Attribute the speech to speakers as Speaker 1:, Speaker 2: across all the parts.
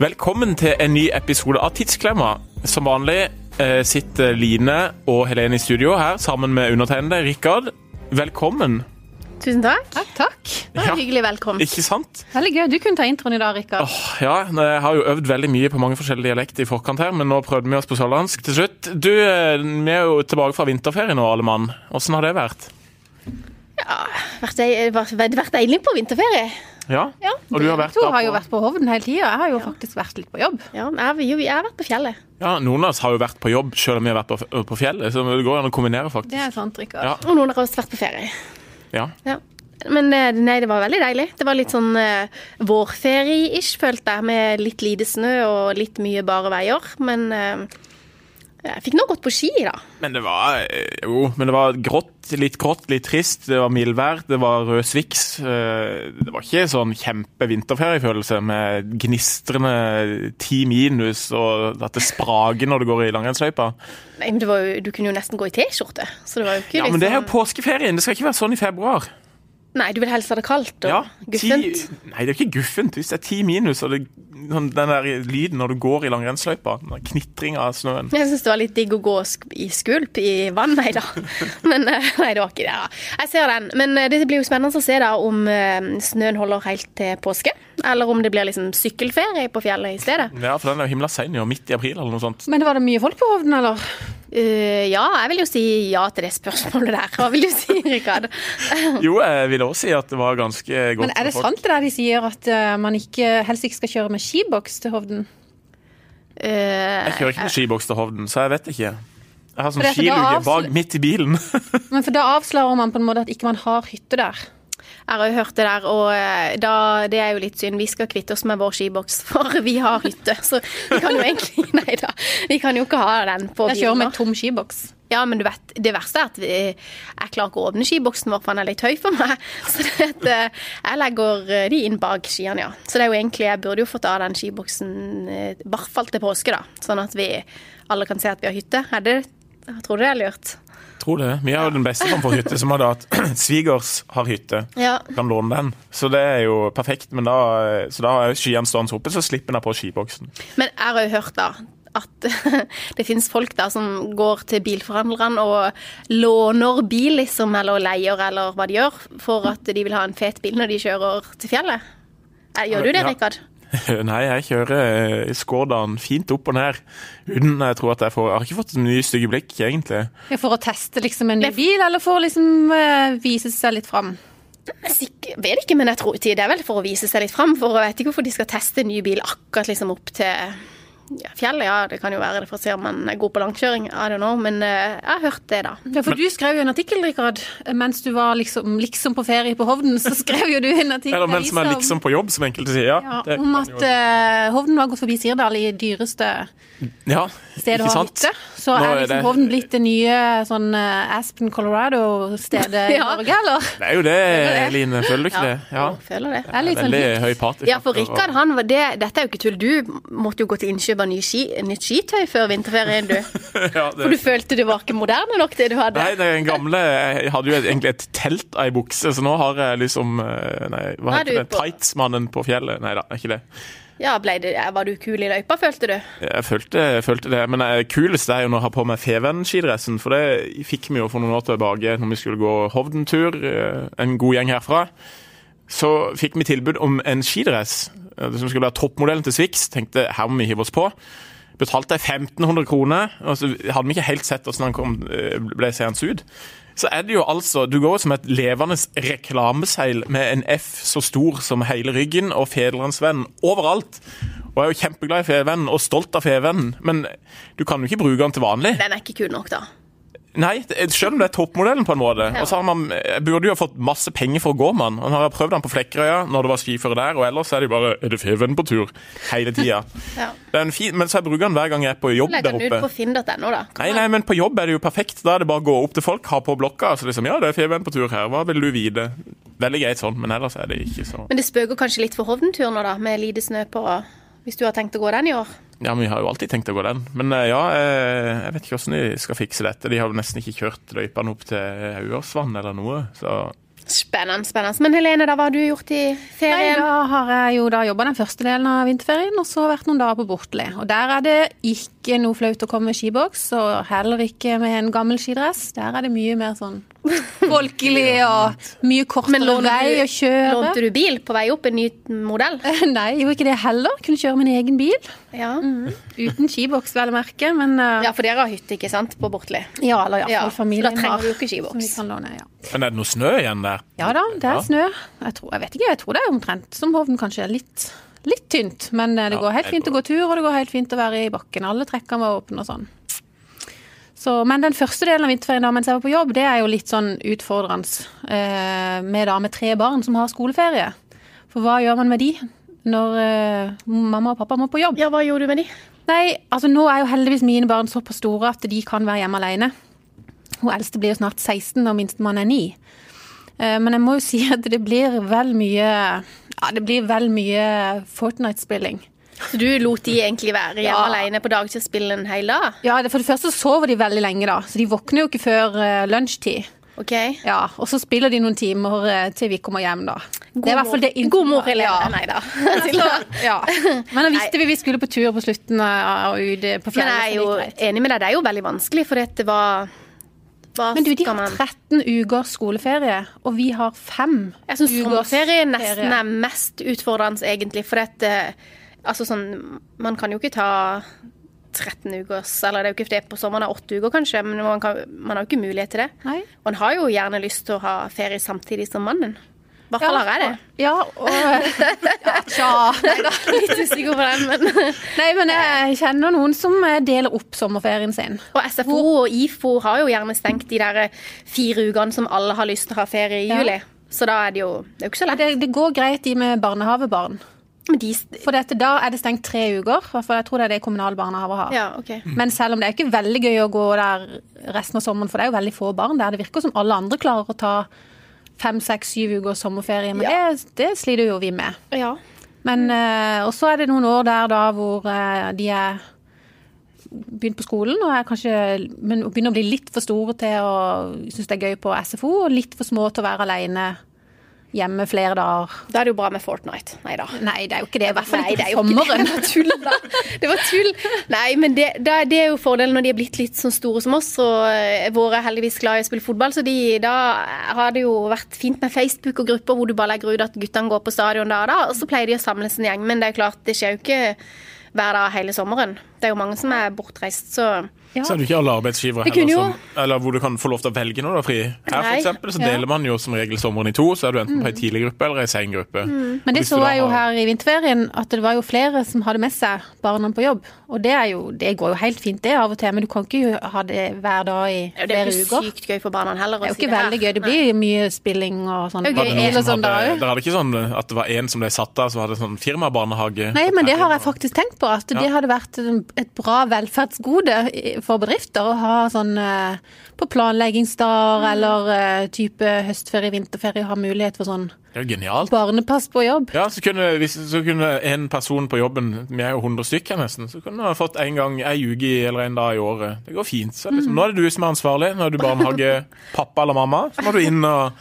Speaker 1: Velkommen til en ny episode av Tidsklemma. Som vanlig eh, sitter Line og Helene i studio her sammen med undertegnede Rikard. Velkommen.
Speaker 2: Tusen takk.
Speaker 3: Takk, takk.
Speaker 2: Det var
Speaker 1: Ja.
Speaker 2: en Hyggelig velkommen.
Speaker 1: Ikke sant?
Speaker 3: Veldig gøy. Du kunne ta introen i dag, Rikard.
Speaker 1: Åh, ja, jeg har jo øvd veldig mye på mange forskjellige dialekter i forkant her, men nå prøvde vi oss på sørlandsk til slutt. Du, eh, vi er jo tilbake fra vinterferie nå, alle mann. Åssen har det vært?
Speaker 2: Vært, dei- vært, vært- vært deilig på vinterferie.
Speaker 1: Ja?
Speaker 2: Ja.
Speaker 1: Og du har vært
Speaker 3: Tor
Speaker 1: da
Speaker 3: har jo
Speaker 1: på-
Speaker 3: vært på Hovden hele tida. Jeg har jo faktisk vært litt på jobb.
Speaker 2: Ja, jeg, har- jo, jeg har vært på fjellet.
Speaker 1: Ja, noen av oss har jo vært på jobb selv om vi har vært på, på fjellet, så det går an å kombinere, faktisk.
Speaker 3: Det er sant, Rikard.
Speaker 1: Ja.
Speaker 2: Og noen har også vært på ferie.
Speaker 1: Ja.
Speaker 2: Ja. Men eh, nei, det var veldig deilig. Det var litt sånn eh, vårferie-ish, følte jeg, med litt lite snø og litt mye bare veier. Men eh, jeg fikk nå gått på ski, da.
Speaker 1: Men det var eh, jo, men det var grått, litt grått, litt trist. Det var mildvær, det var rød sviks. eh, Det var ikke sånn kjempe vinterferiefølelse med gnistrende ti minus og at det sprager når du går i langrennsløypa.
Speaker 2: Nei, men det var jo, du kunne jo nesten gå i T-skjorte. Så det var jo ikke liksom
Speaker 1: Ja, men det er jo påskeferien, det skal ikke være sånn i februar.
Speaker 2: Nei, du vil helst ha det kaldt og
Speaker 1: Ja,
Speaker 2: guffent.
Speaker 1: Ti, nei, det er jo ikke guffent hvis det er ti minus og det, sånn, den der lyden når du går i langrennsløypa. Knitringa av snøen.
Speaker 2: Jeg syns det var litt digg å gå og sk- i skvulp i vann, nei da. Men eh, nei, det var ikke det. da. Jeg ser den. Men eh, det blir jo spennende å se da om eh, snøen holder helt til påske. Eller om det blir liksom sykkelferie på fjellet i stedet.
Speaker 1: Ja, for den er jo himla sein i år, midt i april eller noe sånt.
Speaker 3: Men var det mye folk på Hovden, eller?
Speaker 2: Eh, ja, jeg vil jo si ja til det spørsmålet der. Hva vil du si, Rikard?
Speaker 1: Jo, jeg vil også si at det var ganske godt.
Speaker 3: Men er det
Speaker 1: med folk.
Speaker 3: sant det der de sier at eh, man ikke, helst ikke skal kjøre med skiboks til Hovden?
Speaker 2: Eh,
Speaker 1: Jeg kjører ikke med skiboks til Hovden, så jeg vet ikke. Jeg har sånn
Speaker 3: For det er for da
Speaker 1: skiluke
Speaker 3: avsl-
Speaker 1: bak midt i bilen.
Speaker 3: Men for da avslører man på en måte at ikke man har hytte der.
Speaker 2: Jeg har jo hørt det der, og eh, da, det er jo litt synd. Vi skal kvitte oss med vår skiboks, for vi har hytte. Så vi kan jo egentlig Nei da. Vi kan jo ikke ha den på
Speaker 3: Jeg kjører
Speaker 2: bilen
Speaker 3: med tom skiboks.
Speaker 2: Ja, men du vet, det verste er at vi, jeg klarer ikke å åpne skiboksen vår, for den er litt høy for meg. Så det at, eh, jeg legger eh, de inn bak skiene, ja. Så det er jo egentlig, jeg burde jo fått av den skiboksen, eh, i hvert fall til påske, da. Sånn at vi alle kan se at vi har hytte. Er det, jeg tror det er lurt.
Speaker 1: Tror det. Vi har jo den beste form for hytte, som er da at svigers har hytte.
Speaker 2: Ja.
Speaker 1: Kan låne den. Så det er jo perfekt. Men da, så da har jeg skiene stående oppe, så slipper jeg på skiboksen.
Speaker 2: Men jeg har jo hørt da at det finnes folk da som går til bilforhandlerne og låner bil, liksom, eller leier, eller hva de gjør, for at de vil ha en fet bil når de kjører til fjellet. Eh, Gjør du det,
Speaker 1: Ja.
Speaker 2: Rikard?
Speaker 1: Nei, jeg kjører eh, Skårdaen fint opp og ned. Uten jeg tror at jeg får Jeg har ikke fått så mye stygge blikk, egentlig.
Speaker 3: Ja, For å teste liksom en ny bil, eller for å liksom eh, vise seg litt fram?
Speaker 2: Sikk- vet ikke, men jeg tror det er vel for å vise seg litt fram. For jeg vet ikke hvorfor de skal teste en ny bil akkurat liksom opp til ja, fjellet. Ja, det kan jo være det for å se om man er god på langkjøring. I don't know, men eh, jeg har hørt det, da.
Speaker 3: Ja, for du skrev jo en artikkel, Rikard, mens du var liksom, liksom på ferie på Hovden. Så skrev jo du en artikkel
Speaker 1: Eller mens jeg
Speaker 3: i
Speaker 1: er
Speaker 3: avisen om-
Speaker 1: liksom på jobb, som enkelte sier. Ja,
Speaker 3: Ja,
Speaker 1: det,
Speaker 3: om at eh, Hovden har gått forbi Sirdal i dyreste
Speaker 1: ja
Speaker 3: stedet
Speaker 1: ikke
Speaker 3: å ha
Speaker 1: sant?
Speaker 3: hytte. Så
Speaker 1: Nå
Speaker 3: er
Speaker 1: er
Speaker 3: liksom
Speaker 1: det-
Speaker 3: Hovden blitt det nye sånn eh, Aspen, Colorado-stedet i
Speaker 2: Ja.
Speaker 3: Norge, eller?
Speaker 1: Det er jo det, Line. Føler du ikke det? Ja.
Speaker 2: Jeg føler det.
Speaker 3: Det er litt sånn
Speaker 1: Veldig
Speaker 3: likt.
Speaker 1: høy party.
Speaker 2: Ja, for Rikard, han var det Dette er jo ikke tull. Du måtte jo gå til innkjøp av ny ski, nytt skitøy før vinterferien, du.
Speaker 1: Ja, det-
Speaker 2: For du følte du var ikke moderne nok, det du hadde.
Speaker 1: Nei, den gamle Jeg hadde jo et- egentlig et telt av ei bukse, så nå har jeg liksom eh, Nei, hva
Speaker 2: Nå er
Speaker 1: heter det?
Speaker 2: du på-
Speaker 1: Tightsmannen på fjellet? Nei da, er ikke det.
Speaker 2: Ja, ble det, Var du kul i løypa, følte du?
Speaker 1: Jeg følte, jeg følte det. Men det kuleste er jo nå å ha på meg Feven-skidressen, for det fikk vi jo for noen år tilbake når vi skulle gå Hovden-tur, eh, en god gjeng herfra. Så fikk vi tilbud om en skidress eh, som skulle være toppmodellen til Swix. Tenkte her må vi hive oss på. Betalte jeg 1500 kroner, og så hadde vi ikke helt sett hvordan han kom, eh, ble seende ut. Så er det jo altså Du går jo som et levende reklameseil med en F så stor som hele ryggen og Federlandsvennen overalt. Og jeg er jo kjempeglad i Fevennen og stolt av Fevennen, men du kan jo ikke bruke den til vanlig.
Speaker 2: Den er ikke kul nok, da.
Speaker 1: Nei, det- selv om det er toppmodellen på en måte. Og så har man, jeg burde jo ha fått masse penger for å gå med den. Han har prøvd den på Flekkerøya når det var skiføre der, og ellers er det jo bare Er det Feven på tur? Hele tida.
Speaker 2: Ja.
Speaker 1: Det er en fin, men så jeg bruker den hver gang jeg er på jobb
Speaker 2: Legg
Speaker 1: der
Speaker 2: den ut
Speaker 1: oppe.
Speaker 2: på finn.no, da.
Speaker 1: Nei, nei, men på jobb er det jo perfekt. Da er det bare å gå opp til folk, ha på blokka. Så liksom, ja, det er Feven på tur her, hva vil du vite? Veldig greit sånn, men ellers er det ikke så
Speaker 2: Men det spøker kanskje litt for Hovden-turen nå, da, med lite snø på. Hvis du har tenkt å gå den i år.
Speaker 1: Ja, men vi har jo alltid tenkt å gå den. Men eh, ja, eh, jeg vet ikke hvordan de skal fikse dette. De har jo nesten ikke kjørt løypene opp til Auersvann eller noe, så
Speaker 2: Spennende, spennende. Men Helene, da, hva har du gjort i
Speaker 3: Nei,
Speaker 2: ferien?
Speaker 3: da har jeg jo da jobba den første delen av vinterferien, og så vært noen dager på Bortli. Og der er det ikke noe flaut å komme med skiboks, og heller ikke med en gammel skidress. Der er det mye mer sånn folkelig og mye
Speaker 2: Men
Speaker 3: kortere
Speaker 2: lånte
Speaker 3: vei
Speaker 2: du-
Speaker 3: å kjøre.
Speaker 2: Lånte du bil på vei opp, en ny modell?
Speaker 3: Nei, gjorde ikke det heller. Kunne kjøre min egen bil.
Speaker 2: Ja,
Speaker 3: Uten skiboks, vel å merke, men eh,
Speaker 2: ja for dere har hytte, ikke sant, på Bortli?
Speaker 3: ja, eller
Speaker 2: Ja,
Speaker 3: iallfall
Speaker 2: så
Speaker 3: familien
Speaker 2: da trenger
Speaker 3: har,
Speaker 2: du jo ikke skiboks.
Speaker 3: som vi kan låne, ja.
Speaker 1: Men er det noe snø igjen der?
Speaker 3: Ja da, det
Speaker 1: Ja.
Speaker 3: er snø. Jeg, tror, jeg vet ikke, jeg tror det er omtrent som Hovden, kanskje litt, litt tynt. Men eh, det
Speaker 1: Ja,
Speaker 3: går helt
Speaker 1: jeg
Speaker 3: fint å gå tur, og det går helt fint å være i bakken. Alle trekker var åpne og sånn. Så, men den første delen av vinterferien da, mens jeg var på jobb, det er jo litt sånn utfordrende eh, med, da, med tre barn som har skoleferie. For hva gjør man med de når eh, mamma og pappa må på jobb?
Speaker 2: Ja, hva gjorde du med de?
Speaker 3: Nei, altså nå er jo heldigvis mine barn såpass store at de kan være hjemme alene. Hun eldste blir jo snart 16, og minstemann er 9. Eh, Men jeg må jo si at det blir vel mye Ja, det blir vel mye Fortnite-spilling.
Speaker 2: Så du lot de egentlig være hjemme
Speaker 3: Ja.
Speaker 2: alene på dagtid og spille en hel dag?
Speaker 3: Ja, det- For det første så sover de veldig lenge, da, så de våkner jo ikke før eh, lunsjtid.
Speaker 2: OK?
Speaker 3: Ja, Og så spiller de noen timer eh, til vi kommer hjem, da. det er i hvert fall det
Speaker 2: God mor, Helene.
Speaker 3: Ja.
Speaker 2: Nei da.
Speaker 3: Så, ja. Men da visste vi vi skulle på tur på slutten av og ut eh, på
Speaker 2: Men
Speaker 3: fjellet.
Speaker 2: jeg er jo
Speaker 3: så det gikk greit.
Speaker 2: enig med deg, det er jo veldig vanskelig, for dette var hva
Speaker 3: Men du, de
Speaker 2: skal
Speaker 3: har
Speaker 2: man
Speaker 3: 13 ukers skoleferie, og vi har fem
Speaker 2: Jeg syns
Speaker 3: ukers
Speaker 2: sommerferie nesten
Speaker 3: ferie.
Speaker 2: er mest utfordrende, egentlig. For dette Altså sånn Man kan jo ikke ta 13 ukers Eller det er jo ikke det på sommeren, det er åtte uker kanskje, men man, kan, man har jo ikke mulighet til det.
Speaker 3: Nei.
Speaker 2: Man har jo gjerne lyst til å ha ferie samtidig som mannen. I hvert fall har jeg det.
Speaker 3: Ja, og ja, Tja.
Speaker 2: Litt usikker på den, men
Speaker 3: Nei, men jeg kjenner noen som eh, deler opp sommerferien sin.
Speaker 2: Og SFO og IFO har jo gjerne stengt de der eh, fire ukene som alle har lyst til å ha ferie i
Speaker 3: Ja.
Speaker 2: juli. Så da er det jo Det er jo ikke så lett.
Speaker 3: Det, det går greit, de med barnehavebarn.
Speaker 2: Men de
Speaker 3: For dette, da er det stengt tre uker. i hvert fall jeg tror det er det kommunale barnehaver har.
Speaker 2: Ja, OK.
Speaker 3: Men selv om det er ikke veldig gøy å gå der resten av sommeren, for det er jo veldig få barn der. Det virker som alle andre klarer å ta fem, seks, syv uker sommerferie, men
Speaker 2: Ja.
Speaker 3: det, det sliter jo vi med.
Speaker 2: Ja.
Speaker 3: Men, eh, og så er det noen år der da hvor eh, de er begynt på skolen og er kanskje, men begynner å bli litt for store til å synes det er gøy på SFO, og litt for små til å være alene hjemme flere dager.
Speaker 2: Da er det jo bra med Fortnite. Nei da.
Speaker 3: Nei, det er jo ikke det. I hvert fall
Speaker 2: Nei,
Speaker 3: ikke
Speaker 2: det er
Speaker 3: på
Speaker 2: jo ikke det.
Speaker 3: sommeren.
Speaker 2: Det var tull, da. Det var tull. Nei, men det, da- det er jo fordelen når de er blitt litt sånn store som oss, og eh, våre er heldigvis glad i å spille fotball, så de, da har det jo vært fint med Facebook og grupper hvor du bare legger ut at guttene går på stadion da og da, og så pleier de å samles en gjeng. Men det er klart, det skjer jo ikke hver dag hele sommeren. Det er jo mange som er bortreist, så
Speaker 3: Ja.
Speaker 1: Så er det ikke alle arbeidsgivere
Speaker 2: Vi kunne
Speaker 1: heller
Speaker 2: jo-
Speaker 1: som, eller hvor du kan få lov til å velge når du har fri. Her for
Speaker 2: Nei.
Speaker 1: eksempel, så
Speaker 3: Ja. Mm.
Speaker 1: deler man jo som regel sommeren i to, så er du enten på ei tidlig gruppe eller ei sein gruppe.
Speaker 3: Men det
Speaker 1: Hvis du
Speaker 3: så
Speaker 1: da
Speaker 3: jeg jo
Speaker 1: har-
Speaker 3: her i vinterferien, at det var jo flere som hadde med seg barna på jobb. Og det, er jo, det går jo helt fint det av og til, men du kan ikke ha det hver dag i
Speaker 2: det er
Speaker 3: flere
Speaker 2: jo ikke
Speaker 3: uker.
Speaker 2: sykt gøy for barna heller. å
Speaker 3: Det er jo
Speaker 2: si
Speaker 3: ikke veldig
Speaker 2: her.
Speaker 3: gøy. Det blir mye spilling og sånn.
Speaker 2: Det er jo gøy.
Speaker 1: Hadde noen
Speaker 3: Eller
Speaker 1: som
Speaker 3: sånn da
Speaker 1: hadde,
Speaker 3: òg.
Speaker 1: der er det ikke sånn at det var en som ble satt av, som hadde sånn firmabarnehage?
Speaker 3: Nei, men det har jeg faktisk tenkt på. At det
Speaker 1: Ja.
Speaker 3: hadde vært en- et bra velferdsgode i- for bedrifter å ha sånn eh, på planleggingsdager
Speaker 2: Mm.
Speaker 3: eller eh, type høstferie, vinterferie, ha mulighet for sånn
Speaker 1: Det er jo genialt.
Speaker 3: barnepass på jobb.
Speaker 1: Ja, så kunne, hvis, så kunne en person på jobben, vi er jo 100 stykker nesten, så kunne han fått en gang ei uke i- eller en dag i året. Det går fint. Så
Speaker 3: Mm.
Speaker 1: liksom, nå er det du som er ansvarlig. Nå er du barnehagepappa eller mamma. Så må du inn og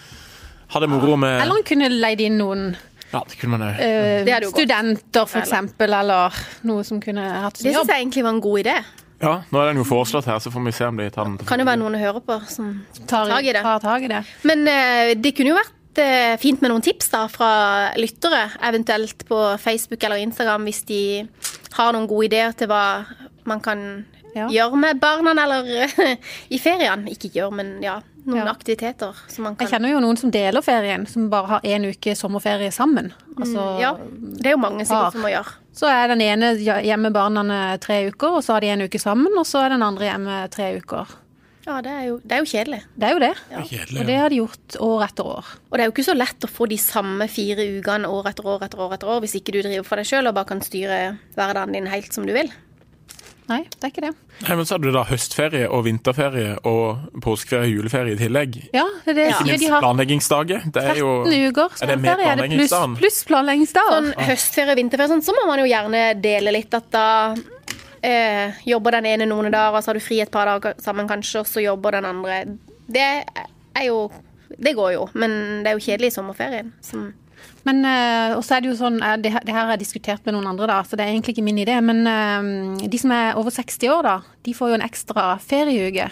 Speaker 1: ha det moro med
Speaker 3: Eller hun kunne leid inn noen
Speaker 1: Ja, det kunne man òg.
Speaker 3: eh,
Speaker 2: Det hadde jo gått.
Speaker 3: studenter, for eksempel, eller noe som kunne hatt
Speaker 2: Det
Speaker 3: sin
Speaker 2: syns
Speaker 3: jobb.
Speaker 2: jeg egentlig var en god idé.
Speaker 1: Ja, nå er den jo foreslått her, så får vi se om de tar den. til
Speaker 2: Kan jo
Speaker 1: følge.
Speaker 2: være noen å høre på som
Speaker 3: Tar,
Speaker 2: tag i det.
Speaker 3: tar tag i det.
Speaker 2: Men eh, det kunne jo vært eh, fint med noen tips da fra lyttere, eventuelt på Facebook eller Instagram, hvis de har noen gode ideer til hva man kan
Speaker 3: Ja.
Speaker 2: gjøre med barna eller i ferien. Ikke gjøre, men ja, noen
Speaker 3: Ja.
Speaker 2: aktiviteter som man
Speaker 3: Jeg
Speaker 2: kan
Speaker 3: kjenner jo noen som deler ferien, som bare har én uke sommerferie sammen. Altså,
Speaker 2: Mm, Ja, det er jo mange
Speaker 3: Par.
Speaker 2: sikkert som må gjøre.
Speaker 3: Så er den ene hjemme barna tre uker, og så har de en uke sammen, og så er den andre hjemme tre uker.
Speaker 2: Ja, det er jo, det er jo kjedelig.
Speaker 3: Det er jo det.
Speaker 1: Kjedelig.
Speaker 3: Og
Speaker 1: ja.
Speaker 3: det har de gjort år etter år.
Speaker 2: Og det er jo ikke så lett å få de samme fire ukene år etter år etter år etter år hvis ikke du driver for deg sjøl og bare kan styre hverdagen din helt som du vil.
Speaker 3: Nei, det er ikke det.
Speaker 1: Nei, men så hadde du da høstferie og vinterferie og påskeferie og juleferie i tillegg.
Speaker 3: Ja, det er det.
Speaker 1: Ikke
Speaker 3: Ja,
Speaker 1: minst
Speaker 3: de har
Speaker 1: planleggingsdager. Det er jo
Speaker 3: 13 uker
Speaker 1: Er det med
Speaker 3: sommerferie, er det pluss,
Speaker 1: planleggingsdagen?
Speaker 3: pluss planleggingsdager.
Speaker 2: Sånn høstferie og vinterferie, og sånn, så må man jo gjerne dele litt at da eh, jobber den ene noen dager, og så har du fri et par dager sammen kanskje, og så jobber den andre. Det er jo det går jo. Men det er jo kjedelig i sommerferien. Som,
Speaker 3: Men eh, også er det jo sånn, eh, det, her- det her har jeg diskutert med noen andre, da, så det er egentlig ikke min idé. Men eh, de som er over 60 år, da, de får jo en ekstra ferieuke.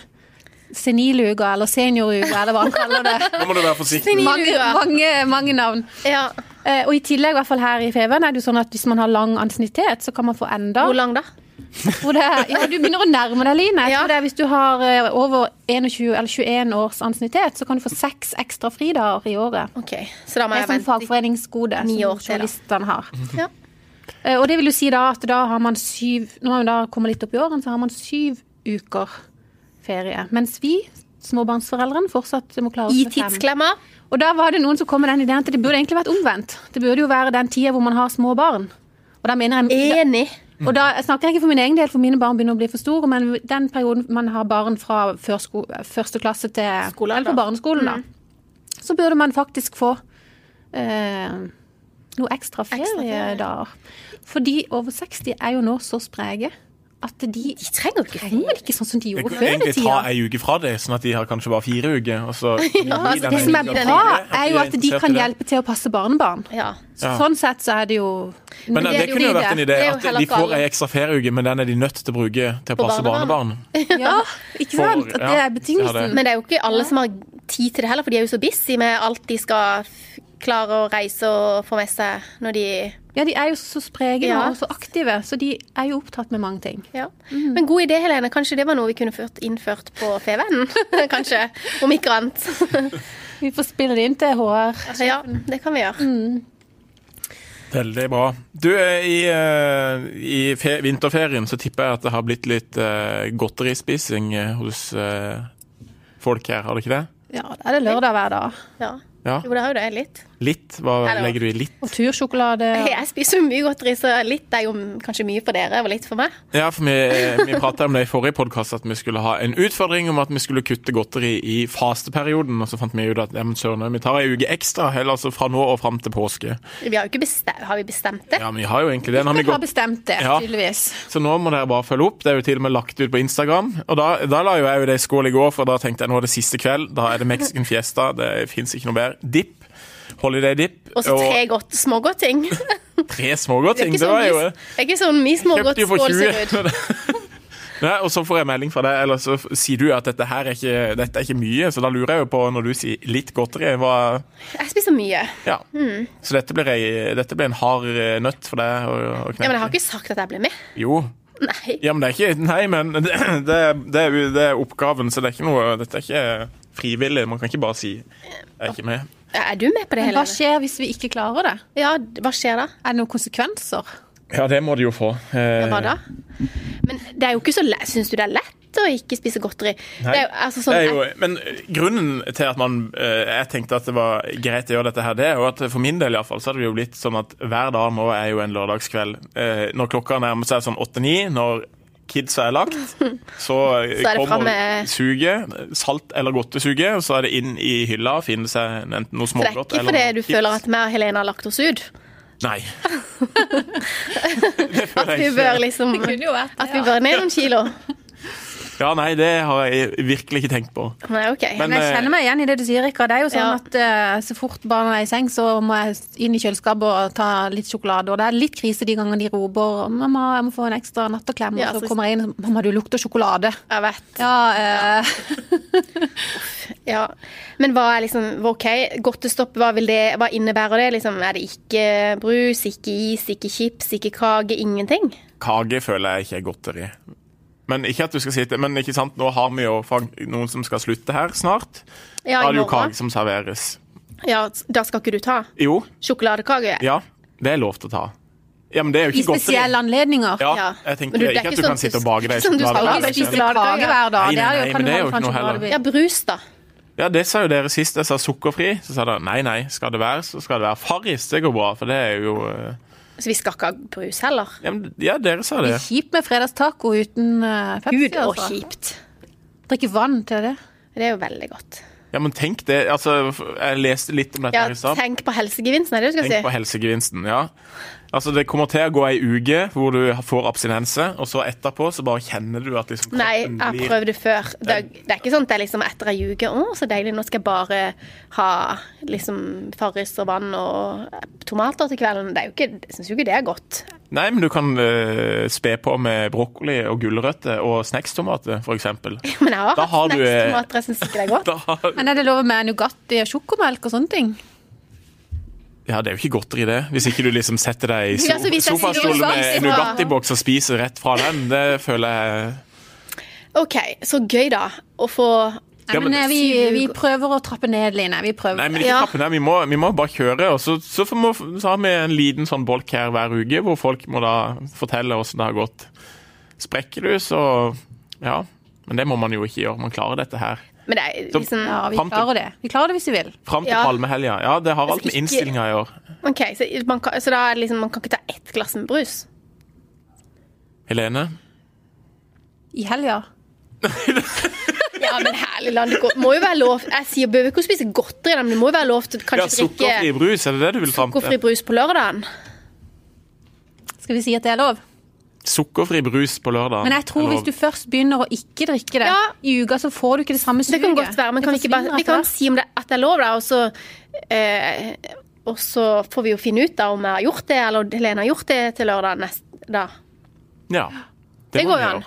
Speaker 3: Seniluka eller senioruka, eller hva han kaller det.
Speaker 1: Nå må du være forsiktig.
Speaker 3: Mange, mange, mange navn.
Speaker 2: ja,
Speaker 3: Eh, og i tillegg, i hvert fall her i Feven, er det jo sånn at hvis man har lang ansiennitet, så kan man få enda
Speaker 2: hvor lang da?
Speaker 3: hvor det er, ja, Du begynner å nærme deg, Line. Jeg
Speaker 2: Ja.
Speaker 3: tror det er Hvis du har eh, over 21, eller 21 års ansiennitet, så kan du få seks ekstra fridager i året.
Speaker 2: OK, så da må
Speaker 3: Det er
Speaker 2: jeg
Speaker 3: sånn
Speaker 2: vente.
Speaker 3: fagforeningsgode som
Speaker 2: Ni år til, da.
Speaker 3: journalistene har.
Speaker 2: Ja.
Speaker 3: Eh, Og det vil jo si da at da har man syv Når man da kommer litt opp i årene, så har man syv uker ferie. Mens vi, småbarnsforeldrene, fortsatt må klare oss
Speaker 2: I
Speaker 3: med fem.
Speaker 2: tidsklemmer.
Speaker 3: Og da var det noen som kom med den ideen at det burde egentlig vært omvendt. Det burde jo være den tida hvor man har små barn. Og da mener jeg
Speaker 2: Enig.
Speaker 3: og da jeg snakker jeg ikke for min egen del, for mine barn begynner å bli for store, men den perioden man har barn fra førsko, første klasse til
Speaker 2: Skolealder.
Speaker 3: eller på barneskolen, da, så burde man faktisk få eh, noe ekstra feriedager. For de over 60 er jo nå så spreke at de
Speaker 2: De trenger jo ikke
Speaker 3: trenger vel ikke sånn som de
Speaker 1: Jeg
Speaker 3: gjorde
Speaker 1: kunne
Speaker 3: før i
Speaker 1: egentlig ta
Speaker 3: tida.
Speaker 1: ei uke fra det, sånn at de har kanskje bare fire uker. Og så kan de
Speaker 2: Ja,
Speaker 1: gi den
Speaker 2: altså,
Speaker 3: Det
Speaker 1: ene
Speaker 3: som er
Speaker 1: uka
Speaker 2: den
Speaker 3: bra,
Speaker 1: videre,
Speaker 3: er jo at de
Speaker 1: interessert
Speaker 3: kan
Speaker 1: i det.
Speaker 3: hjelpe til å passe barnebarn.
Speaker 2: Ja.
Speaker 1: Ja.
Speaker 3: Sånn sett så er det jo
Speaker 1: Men eh, det,
Speaker 2: er jo
Speaker 1: kunne jo vært en idé
Speaker 2: Det er jo
Speaker 1: at
Speaker 2: heller
Speaker 1: de
Speaker 2: ikke
Speaker 1: får
Speaker 2: alle.
Speaker 1: ei ekstra ferieuke, men den er de nødt til å bruke til å passe barnebarn.
Speaker 2: barnebarn.
Speaker 3: Ja, ikke
Speaker 1: For-
Speaker 3: sant? At det
Speaker 1: ja,
Speaker 3: er betingelsen.
Speaker 2: Men det er jo ikke alle som har tid til det heller, for de er jo så busy med alt de skal f- klare å reise og få med seg når de
Speaker 3: Ja, de er jo så spreke
Speaker 2: Ja.
Speaker 3: nå, og så aktive, så de er jo opptatt med mange ting.
Speaker 2: ja. Men god idé, Helene. Kanskje det var noe vi kunne ført, innført på Fevennen? Kanskje. Om ikke annet.
Speaker 3: Vi får spille det inn til HR.
Speaker 2: Ja, Mm. det kan vi gjøre.
Speaker 1: Veldig bra. Du, eh, i, eh, i fe vinterferien så tipper jeg at det har blitt litt eh, godterispising eh, hos eh, folk her, har det ikke det?
Speaker 3: Ja, da er det lørdag hver dag.
Speaker 2: Ja.
Speaker 1: Ja.
Speaker 2: Jo, det har jo det. Litt.
Speaker 1: Litt? Hva
Speaker 2: Eller-
Speaker 1: legger du i litt?
Speaker 3: Og tursjokolade. og-
Speaker 2: Jeg spiser jo mye godteri, så litt er jo kanskje mye for dere og litt for meg.
Speaker 1: Ja, for vi, eh, vi prata om det i forrige podkast, at vi skulle ha en utfordring om at vi skulle kutte godteri i fasteperioden. Og så fant vi ut at ja, men søren, vi tar ei uke ekstra, heller altså fra nå og fram til påske.
Speaker 2: Vi har jo ikke bestemt, har vi bestemt det?
Speaker 1: Ja, men vi har jo egentlig det. Nå har vi
Speaker 3: Dere har
Speaker 1: gått
Speaker 3: bestemt det,
Speaker 1: Ja.
Speaker 3: tydeligvis.
Speaker 1: Så nå må dere bare følge opp. Det er jo til og med lagt ut på Instagram. Og da, da la jo jeg jo det i skål i går, for da tenkte jeg nå er det siste kveld. Da er det Mexican Fiesta. Det fins ikke noe bedre. Dipp. Holiday dip.
Speaker 2: Og så tre godt, smågodting.
Speaker 1: tre smågodtting. Det,
Speaker 2: Ikke sånn
Speaker 1: var jo
Speaker 2: mye- det er ikke sånn mye
Speaker 1: Kjøpte jo for
Speaker 2: smågodtskål ser
Speaker 1: 20.
Speaker 2: ut.
Speaker 1: Nei, og så får jeg melding fra deg, eller så f- sier du at dette her er ikke, dette er ikke mye, så da lurer jeg jo på, når du sier litt godteri, hva
Speaker 2: Jeg spiser mye.
Speaker 1: Ja.
Speaker 2: Hmm.
Speaker 1: Så dette blir, ei, dette blir en hard eh, nøtt for deg å, å
Speaker 2: Ja,
Speaker 1: knekke.
Speaker 2: men jeg har ikke sagt at jeg ble med.
Speaker 1: Jo.
Speaker 2: Nei.
Speaker 1: Ja, men det er ikke Nei, men det, det, er- det, er, jo- det er oppgaven, så det er ikke noe Dette er ikke frivillig. Man kan ikke bare si 'jeg er ikke med'.
Speaker 2: Er du med på det,
Speaker 3: Men hva
Speaker 2: Helene?
Speaker 3: skjer hvis vi ikke klarer det?
Speaker 2: Ja, d- hva skjer da?
Speaker 3: Er det noen konsekvenser?
Speaker 1: Ja, det må du jo få. Eh,
Speaker 2: Hva da? Men det er jo ikke så lett. Syns du det er lett å ikke spise godteri?
Speaker 1: Nei.
Speaker 2: Det er jo, altså, sånn,
Speaker 1: det er jo, men grunnen til at man, eh, jeg tenkte at det var greit å gjøre dette her, det er jo at for min del i hvert fall, så hadde det jo blitt sånn at hver dag nå er jo en lørdagskveld. Eh, Når klokka nærmer seg sånn 8-9, når kidsa er lagt, så, eh,
Speaker 2: Så er det fram
Speaker 1: kommer
Speaker 2: med-
Speaker 1: suget, salt eller godtesuget, og så er det inn i hylla og finne seg enten noe
Speaker 2: så det er
Speaker 1: smågodt
Speaker 2: ikke fordi
Speaker 1: noe
Speaker 2: du
Speaker 1: chips.
Speaker 2: føler at vi og Helene har lagt oss ut?
Speaker 1: Nei. det
Speaker 2: At
Speaker 1: føler
Speaker 2: vi
Speaker 1: jeg
Speaker 2: bør
Speaker 1: ikke.
Speaker 2: liksom
Speaker 3: jo vært
Speaker 2: At vi bør ned noen kilo?
Speaker 1: Ja, nei, det har jeg virkelig ikke tenkt på.
Speaker 2: Nei, OK.
Speaker 1: Men- eh,
Speaker 3: Men jeg kjenner meg igjen i det du sier, Rikard. Det er jo sånn
Speaker 2: Ja.
Speaker 3: at eh, så fort barna er i seng, så må jeg inn i kjøleskapet og ta litt sjokolade. Og det er litt krise de gangene de roper 'mamma, jeg må få en ekstra natteklem',
Speaker 2: Ja,
Speaker 3: og så
Speaker 2: så-
Speaker 3: kommer jeg inn og 'mamma, du lukter sjokolade'.
Speaker 2: Jeg vet.
Speaker 3: Ja, eh,
Speaker 2: Ja. Men hva er liksom hva- OK, godtestopp, hva, vil det, hva innebærer det? Liksom, er det ikke brus, ikke is, ikke chips, ikke kake? Ingenting?
Speaker 1: Kake føler jeg ikke er godteri. Men ikke at du skal sitte Men ikke sant, nå har vi jo fag- noen som skal slutte her snart.
Speaker 2: Ja,
Speaker 1: da
Speaker 2: i
Speaker 1: er det jo
Speaker 2: morgen.
Speaker 1: kake som serveres.
Speaker 2: Ja, da skal ikke du ta
Speaker 1: Jo,
Speaker 2: sjokoladekake?
Speaker 1: ja. Det er lov til å ta. Ja, men det er jo
Speaker 3: I
Speaker 1: ikke godteri.
Speaker 3: spesielle anledninger.
Speaker 1: Ja,
Speaker 2: Ja.
Speaker 1: jeg
Speaker 2: Men
Speaker 1: tenker
Speaker 2: du,
Speaker 1: ikke,
Speaker 2: det er
Speaker 1: at
Speaker 2: ikke
Speaker 1: du
Speaker 2: sånn
Speaker 1: kan
Speaker 2: at
Speaker 1: sitte
Speaker 2: du-
Speaker 1: og bake deg
Speaker 2: sånn du skal
Speaker 1: sjokolade.
Speaker 2: bare
Speaker 1: det
Speaker 2: spise
Speaker 1: er
Speaker 2: sjokolade.
Speaker 1: ikke-
Speaker 2: Kake hver
Speaker 1: Nei,
Speaker 3: Det
Speaker 1: nei,
Speaker 3: er jo,
Speaker 1: nei,
Speaker 3: kan
Speaker 1: men
Speaker 3: du
Speaker 1: det er jo
Speaker 3: holde fra
Speaker 1: ikke noe heller.
Speaker 3: sjokolade.
Speaker 2: Ja, brus, da.
Speaker 1: Ja, det sa jo dere sist jeg sa sukkerfri. Så sa dere nei, nei, skal det være, så skal det være Farris. Det går bra, for det er jo eh,
Speaker 2: Så vi skal ikke ha brus heller.
Speaker 1: Ja, men, ja dere sa
Speaker 3: Det
Speaker 1: det.
Speaker 3: er kjipt med fredagstaco uten uh, Pepsi.
Speaker 2: Gud, og
Speaker 3: altså.
Speaker 2: kjipt.
Speaker 3: Drikke vann til det.
Speaker 2: Det er jo veldig godt.
Speaker 1: Ja, men tenk det. Altså, jeg leste litt om dette
Speaker 2: Ja,
Speaker 1: her i stad.
Speaker 2: tenk på helsegevinsten, er det du skal
Speaker 1: Tenk på
Speaker 2: si?
Speaker 1: helsegevinsten, ja. Altså, Det kommer til å gå ei uke hvor du får abstinense, og så etterpå så bare kjenner du at liksom
Speaker 2: Nei,
Speaker 1: kroppen
Speaker 2: jeg har
Speaker 1: blir-
Speaker 2: prøvd det før. Det er, det er ikke sånn at det er liksom etter ei uke Å, så deilig, nå skal jeg bare ha liksom Farris og vann og tomater til kvelden. Det er jo ikke, jeg syns jo ikke det er godt.
Speaker 1: Nei, men du kan eh, spe på med brokkoli og gulrøtter og snackstomater, f.eks.
Speaker 2: Men jeg har
Speaker 1: Da
Speaker 2: hatt
Speaker 1: har du, eh,
Speaker 2: snackstomater, jeg syns ikke det er godt.
Speaker 1: Da har
Speaker 3: Men er det lov med Nugatti og sjokomelk og sånne ting?
Speaker 1: Ja, det er jo ikke godteri, det. Hvis ikke du liksom setter deg i so
Speaker 2: Ja, altså, hvis jeg sier
Speaker 1: sofastol med
Speaker 2: Nugatti,
Speaker 1: en
Speaker 2: så-
Speaker 1: Nugatti-boks og spiser rett fra den, det føler jeg
Speaker 2: OK, så gøy, da. Å få
Speaker 1: Ja,
Speaker 3: Nei, men
Speaker 1: men-
Speaker 3: eh, vi, vi prøver å trappe ned, Line. Vi prøver.
Speaker 1: Nei, men ikke
Speaker 2: Ja.
Speaker 1: trappe ned. Vi må, vi må bare kjøre. Og så, så, får- må, så har vi en liten sånn bolk her hver uke, hvor folk må da fortelle åssen det har gått. Sprekker du, så Ja. Men det må man jo ikke gjøre. Man klarer dette her.
Speaker 2: Men det er
Speaker 1: Så-
Speaker 2: liksom
Speaker 3: Ja, vi
Speaker 1: Fram til-
Speaker 3: klarer det. Vi klarer det hvis vi vil.
Speaker 1: Fram til
Speaker 2: Ja.
Speaker 1: palmehelga. Ja, det har alt med
Speaker 2: Ikke-
Speaker 1: innstillinga å gjøre.
Speaker 2: OK, så man kan, så da er det liksom, man kan ikke ta ett glass med brus?
Speaker 1: Helene?
Speaker 3: I helga.
Speaker 2: Ja, men herlig land, det går- må jo være lov Jeg sier behøver ikke å spise godteri, da, men det må jo være lov til å
Speaker 1: Ja,
Speaker 2: kanskje
Speaker 1: sukkerfri
Speaker 2: drikke
Speaker 1: brus, er det det du vil fram
Speaker 2: sukkerfri
Speaker 1: til?
Speaker 2: brus på lørdagen.
Speaker 3: Skal vi si at det er lov?
Speaker 1: Sukkerfri brus på lørdag.
Speaker 3: Men jeg tror hvis du først begynner å ikke drikke det
Speaker 2: Ja.
Speaker 3: i uka, så får du ikke det samme
Speaker 2: Det
Speaker 3: suget.
Speaker 2: kan godt være, men
Speaker 3: Det
Speaker 2: kan vi ikke bare,
Speaker 3: forsvinner
Speaker 2: vi kan
Speaker 3: etter hvert.
Speaker 2: si om det, at det er lov, da, og så eh, Og så får vi jo finne ut da om jeg har gjort det, eller Helene har gjort det til lørdag neste da.
Speaker 1: Ja.
Speaker 2: Det
Speaker 1: må
Speaker 2: går
Speaker 1: vi
Speaker 2: jo an.
Speaker 1: gjøre.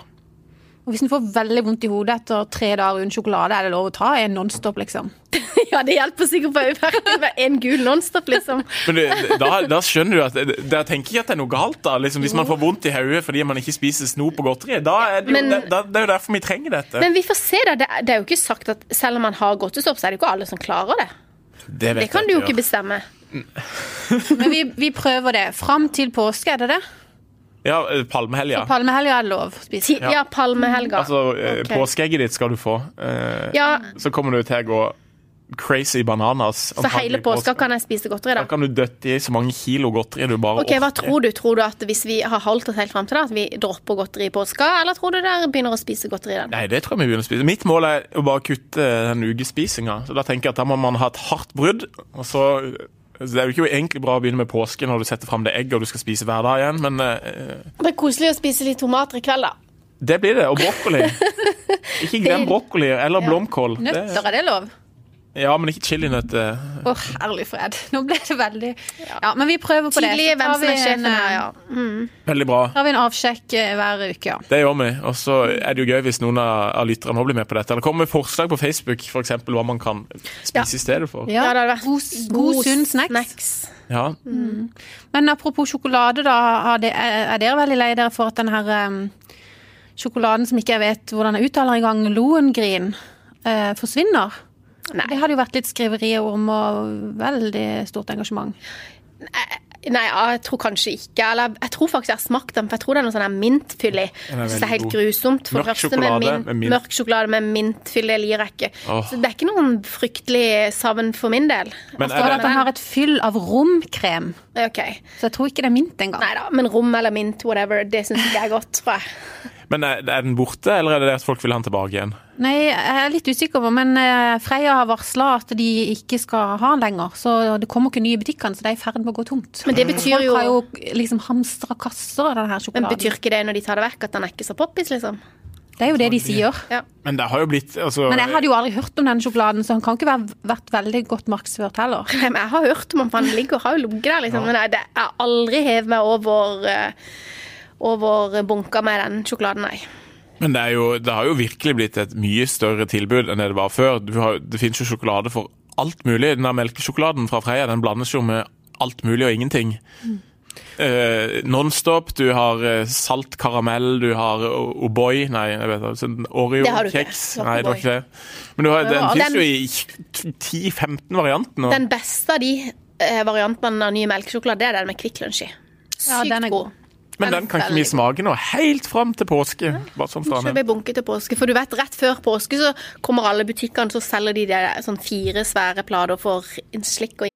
Speaker 3: Og hvis en får veldig vondt i hodet etter tre dager uten sjokolade, er det lov å ta en Nonstop, liksom.
Speaker 2: Ja, det hjelper sikkert på øyeverket med en gul nonstop, liksom.
Speaker 1: Men det, da, da skjønner du at Da tenker jeg at det er noe galt, da. Liksom, hvis man får vondt i hodet fordi man ikke spiser snop og godteri. Da er det, jo,
Speaker 2: Men-
Speaker 1: det, da, det er jo derfor vi trenger dette.
Speaker 2: Men vi får se, da. Det er- Det er jo ikke sagt at selv om man har godtestopp, så er det jo ikke alle som klarer det.
Speaker 1: vet
Speaker 2: Det
Speaker 1: jeg
Speaker 2: kan du jo
Speaker 1: gjør.
Speaker 2: ikke bestemme.
Speaker 3: Men vi, vi prøver det. Fram til påske, er det det?
Speaker 1: Ja, eh, palmehelga.
Speaker 3: Palmehelga er det lov å spise.
Speaker 2: Ti- Ja, palmehelga.
Speaker 1: Altså, eh,
Speaker 2: Ok.
Speaker 1: påskeegget ditt skal du få. Eh,
Speaker 2: Ja,
Speaker 1: Så kommer du til å gå crazy bananas.
Speaker 2: så hele
Speaker 1: antagelig
Speaker 2: påska
Speaker 1: påske.
Speaker 2: kan jeg spise godteri, da.
Speaker 1: Da kan du døtte i så mange kilo godteri du bare
Speaker 2: Ok, Hva tror du? Tror du at hvis vi har holdt oss helt fram til det, at vi dropper godteri i påska, eller tror du dere begynner å spise godteri den?
Speaker 1: Nei, det tror jeg vi begynner å spise. Mitt mål er å bare kutte den ukespisinga. Så da tenker jeg at da må man ha et hardt brudd, og så så Det er jo ikke egentlig bra å begynne med påske når du setter fram det egget og du skal spise hver dag igjen, men eh,
Speaker 2: Det er koselig å spise litt tomater i kveld, da.
Speaker 1: det blir det. Og brokkoli. Ikke glem brokkoli eller blomkål. Det,
Speaker 3: Nøtter, er det lov?
Speaker 1: ja, men ikke chilinøtter.
Speaker 3: Å, herlig fred. Nå ble det veldig Ja, men vi prøver på det.
Speaker 2: Tidlig
Speaker 3: Så
Speaker 2: hvem
Speaker 3: tar vi
Speaker 2: som er
Speaker 3: en,
Speaker 2: sjefen her,
Speaker 3: eh,
Speaker 2: ja.
Speaker 1: Veldig bra.
Speaker 3: tar vi en avsjekk eh, hver uke, ja.
Speaker 1: Det gjør vi. Og så er det jo gøy hvis noen av av lytterne også blir med på dette. Eller kommer med forslag på Facebook, f.eks. hva man kan spise
Speaker 2: Ja.
Speaker 1: i stedet for.
Speaker 2: Ja, det hadde vært
Speaker 3: god, god, sunn snacks.
Speaker 1: Ja.
Speaker 3: Men apropos sjokolade, da. har det- Er er dere veldig lei dere for at den her eh, sjokoladen som ikke jeg vet hvordan jeg uttaler engang, Lohengrin, eh, forsvinner?
Speaker 2: Nei.
Speaker 3: Det hadde jo vært litt skriverier om og veldig stort engasjement.
Speaker 2: Nei, ja, jeg tror kanskje ikke. Eller jeg tror faktisk jeg har smakt den, for jeg tror det er noe sånn her mintfyll i.
Speaker 1: Den er
Speaker 2: Så det er
Speaker 1: veldig
Speaker 2: helt
Speaker 1: god.
Speaker 2: grusomt. For
Speaker 1: Mørk
Speaker 2: det første
Speaker 1: sjokolade
Speaker 2: min-
Speaker 1: med mint.
Speaker 2: Mørk sjokolade med mintfyll, det liker jeg ikke.
Speaker 1: Åh.
Speaker 2: Så det er ikke noen fryktelig savn for min del.
Speaker 1: Men
Speaker 3: Og
Speaker 1: er
Speaker 3: at
Speaker 1: det,
Speaker 3: den har et fyll av romkrem.
Speaker 2: Ok.
Speaker 3: Så jeg tror ikke det er mint engang.
Speaker 2: Nei da, men rom eller mint, whatever, det syns ikke jeg er godt, tror jeg.
Speaker 1: men er er den borte, eller er det det at folk vil ha den tilbake igjen?
Speaker 3: Nei, jeg er litt usikker, på, men eh, Freia har varsla at de ikke skal ha den lenger. Så det kommer ikke nye i butikkene, så det er i ferd med å gå tomt.
Speaker 2: Men det betyr
Speaker 3: Folk
Speaker 2: jo-
Speaker 3: har jo liksom hamstra kasser av denne her
Speaker 2: Men
Speaker 3: sjokoladen.
Speaker 2: betyr ikke det når de tar det vekk, at den er ikke så poppis, liksom?
Speaker 3: Det er jo det de sier.
Speaker 2: Ja.
Speaker 1: Men det har jo blitt altså,
Speaker 3: Men jeg hadde jo aldri hørt om den sjokoladen, så han kan ikke være, vært veldig godt markedsført heller.
Speaker 2: Nei, men Jeg har hørt om han, for han ligger og har jo ligget der, liksom. Men jeg, det, jeg har aldri hevet meg over eh, over bunker med den sjokoladen, nei.
Speaker 1: Men det, er jo, det har jo virkelig blitt et mye større tilbud enn det det var før. Du har, det finnes jo sjokolade for alt mulig. Den der melkesjokoladen fra Freia den blandes jo med alt mulig og ingenting.
Speaker 2: Mm.
Speaker 1: Eh, Nonstop, du har eh, salt karamell, du har O- O'boy Nei, jeg vet ikke. sånn
Speaker 2: Det har du ikke.
Speaker 1: Oreo-kjeks.
Speaker 2: Det var
Speaker 1: Nei,
Speaker 2: ikke
Speaker 1: det var
Speaker 2: O'boy.
Speaker 1: ikke det. Men du har, den
Speaker 2: Ja,
Speaker 1: finnes jo
Speaker 2: den-
Speaker 1: i 10-15 varianter nå.
Speaker 2: Den beste av de eh, variantene av ny melkesjokolade, det er den med Kvikk Lunsj i. Sykt
Speaker 3: Ja, den er
Speaker 2: god.
Speaker 3: god.
Speaker 1: Men
Speaker 3: den er
Speaker 1: den kan ikke vi
Speaker 3: veldig
Speaker 1: smake nå, helt fram til påske. Bare sånn fra
Speaker 2: Så
Speaker 1: meg.
Speaker 2: det blir bunket til påske. For du vet, rett før påske så kommer alle butikkene, så selger de det, sånn fire svære plater for en slikk og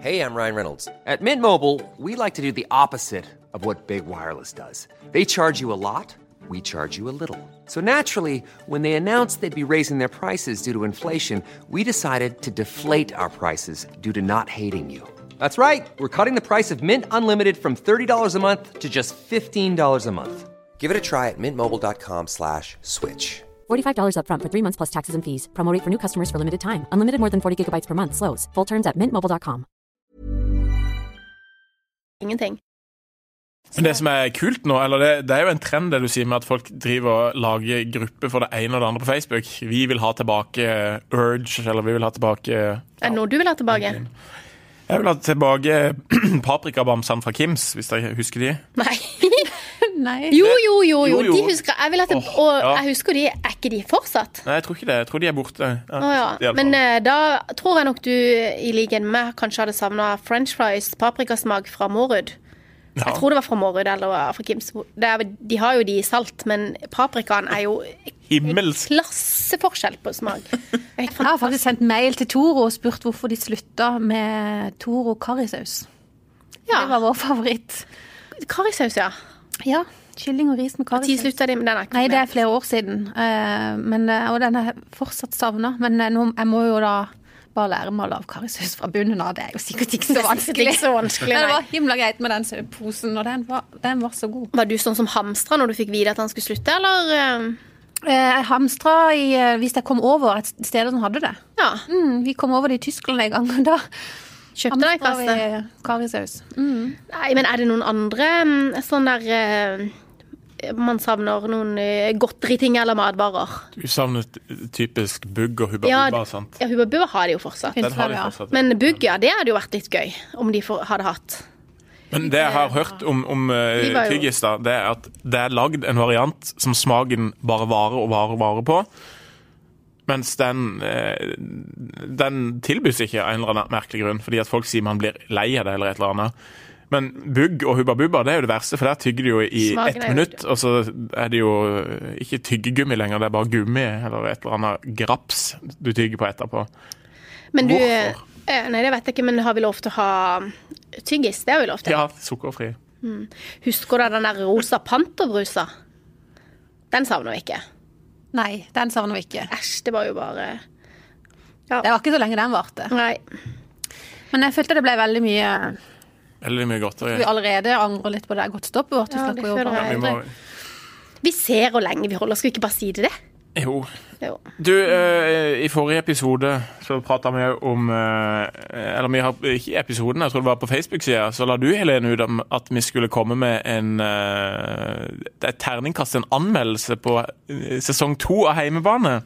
Speaker 4: Hey, I'm Ryan Reynolds. At Mint Mobile, we like to do the opposite of what Big Wireless does. They charge you a lot, we charge you a little. So naturally, when they announced they'd be raising their prices due to inflation, we decided to deflate our prices due to not hating you. That's right. We're cutting the price of Mint Unlimited from $30 a month to just $15 a month. Give it a try at mintmobile.com slash switch.
Speaker 5: $45 upfront for three months plus taxes and fees. Promo rate for new customers for limited time. Unlimited more than 40 gigabytes per month. Slows. Full terms at mintmobile.com.
Speaker 2: Ingenting.
Speaker 1: Men det som er kult nå, eller det, det er jo en trend det du sier med at folk driver og lager grupper for det ene og det andre på Facebook. Vi vil ha tilbake eh, Urge, eller vi vil ha tilbake eh,
Speaker 2: Er det noe du vil ha tilbake?
Speaker 1: Jeg vil ha tilbake paprikabamsene fra Kims, hvis dere husker de.
Speaker 2: Nei.
Speaker 3: Nei.
Speaker 2: Jo, jo, jo. jo.
Speaker 1: Jo, jo.
Speaker 2: De husker, jeg vil at det,
Speaker 1: Åh,
Speaker 2: og
Speaker 1: ja.
Speaker 2: jeg husker de. Er ikke de fortsatt?
Speaker 1: Nei, jeg tror ikke det. Jeg tror de er borte. Ja,
Speaker 2: Å
Speaker 1: de
Speaker 2: ja.
Speaker 1: er
Speaker 2: Men
Speaker 1: borte.
Speaker 2: eh, da tror jeg nok du, i likhet med meg, kanskje hadde savna french fries paprikasmak fra Mårud. Jeg tror det var fra Mårud eller fra Kims. Det er, de har jo de i salt, men paprikaen er jo
Speaker 1: Himmelsk.
Speaker 2: klasseforskjell på smak. Det er
Speaker 3: Jeg har
Speaker 2: helt fantastisk.
Speaker 3: faktisk sendt mail til Toro og spurt hvorfor de slutta med Toro karrisaus. Det var
Speaker 2: Ja.
Speaker 3: vår favoritt.
Speaker 2: Karrisaus, ja.
Speaker 3: Ja, kylling og ris med
Speaker 2: Når
Speaker 3: karrisaus.
Speaker 2: slutta de med den? er ikke
Speaker 3: Nei, det
Speaker 2: med.
Speaker 3: er flere år siden, eh, men, eh, og den er fortsatt savna. Men eh, nå, jeg må jo da bare lære meg å lage karrisaus fra bunnen av. Det er jo sikkert ikke så
Speaker 2: Det er
Speaker 3: vanskelig.
Speaker 2: ikke så vanskelig,
Speaker 3: Men det
Speaker 2: nei.
Speaker 3: var himla greit med den posen, og den var, den var så god.
Speaker 2: Var du sånn som hamstra når du fikk vite at han skulle slutte, eller? eh,
Speaker 3: Eh, Jeg hamstra i, eh, hvis jeg kom over et sted som hadde det.
Speaker 2: Ja.
Speaker 3: Mm, vi kom over det i Tyskland en gang, og da
Speaker 2: Kjøpte deg
Speaker 3: hamstra
Speaker 2: kasse?
Speaker 3: vi karrisaus.
Speaker 2: Nei, men er det noen andre mm, sånn der eh, man savner noen eh, godteriting eller matvarer?
Speaker 1: Du savnet typisk bugg og hubba bubba, sant?
Speaker 2: ja Hubba Bubba har de jo fortsatt.
Speaker 1: Den har de
Speaker 3: Ja.
Speaker 1: fortsatt.
Speaker 2: Men Bugg, ja, det hadde jo vært litt gøy om de for, hadde hatt.
Speaker 1: Men det jeg har hørt om, om eh,
Speaker 2: Vi var jo-
Speaker 1: tyggis, da, det er at det er lagd en variant som smaken bare varer og varer og varer på. Mens den, eh, den tilbys ikke av en eller annen merkelig grunn, fordi at folk sier man blir lei av det eller et eller annet. Men bugg og hubba bubba det er jo det verste, for der tygger de jo i
Speaker 2: Smaken er
Speaker 1: ett
Speaker 2: jo-
Speaker 1: minutt. Og så er det jo eh, ikke tyggegummi lenger, det er bare gummi eller et eller annet graps du tygger på etterpå.
Speaker 2: Men du eh,
Speaker 1: Hvorfor?
Speaker 2: Nei, det vet jeg ikke, men har vi lov til å ha mm, tyggis? Det har vi lov til.
Speaker 1: Ja, sukkerfri.
Speaker 2: Husker du den der rosa panterbrusa? Den savner vi ikke.
Speaker 3: Nei, den savner vi ikke.
Speaker 2: Æsj, det var jo bare
Speaker 3: Det var ikke så lenge den varte.
Speaker 2: Nei.
Speaker 3: Men jeg følte det ble veldig mye eh,
Speaker 1: Veldig mye godteri.
Speaker 3: Vi allerede angrer litt på det godtstoppet vårt. Vi
Speaker 2: Ja, det
Speaker 3: snakker jo
Speaker 2: føler
Speaker 3: bare
Speaker 1: Vi
Speaker 2: jeg.
Speaker 1: må,
Speaker 2: Vi ser hvor lenge vi holder, skal vi ikke bare si det?
Speaker 1: jo,
Speaker 2: Jo.
Speaker 1: Du, eh, i forrige episode så prata vi jo om eh, Eller vi har ikke i episoden, jeg tror det var på Facebook-sida, så la du Helene ut om at vi skulle komme med en eh, et terningkast, en anmeldelse på eh, sesong to av Heimebane.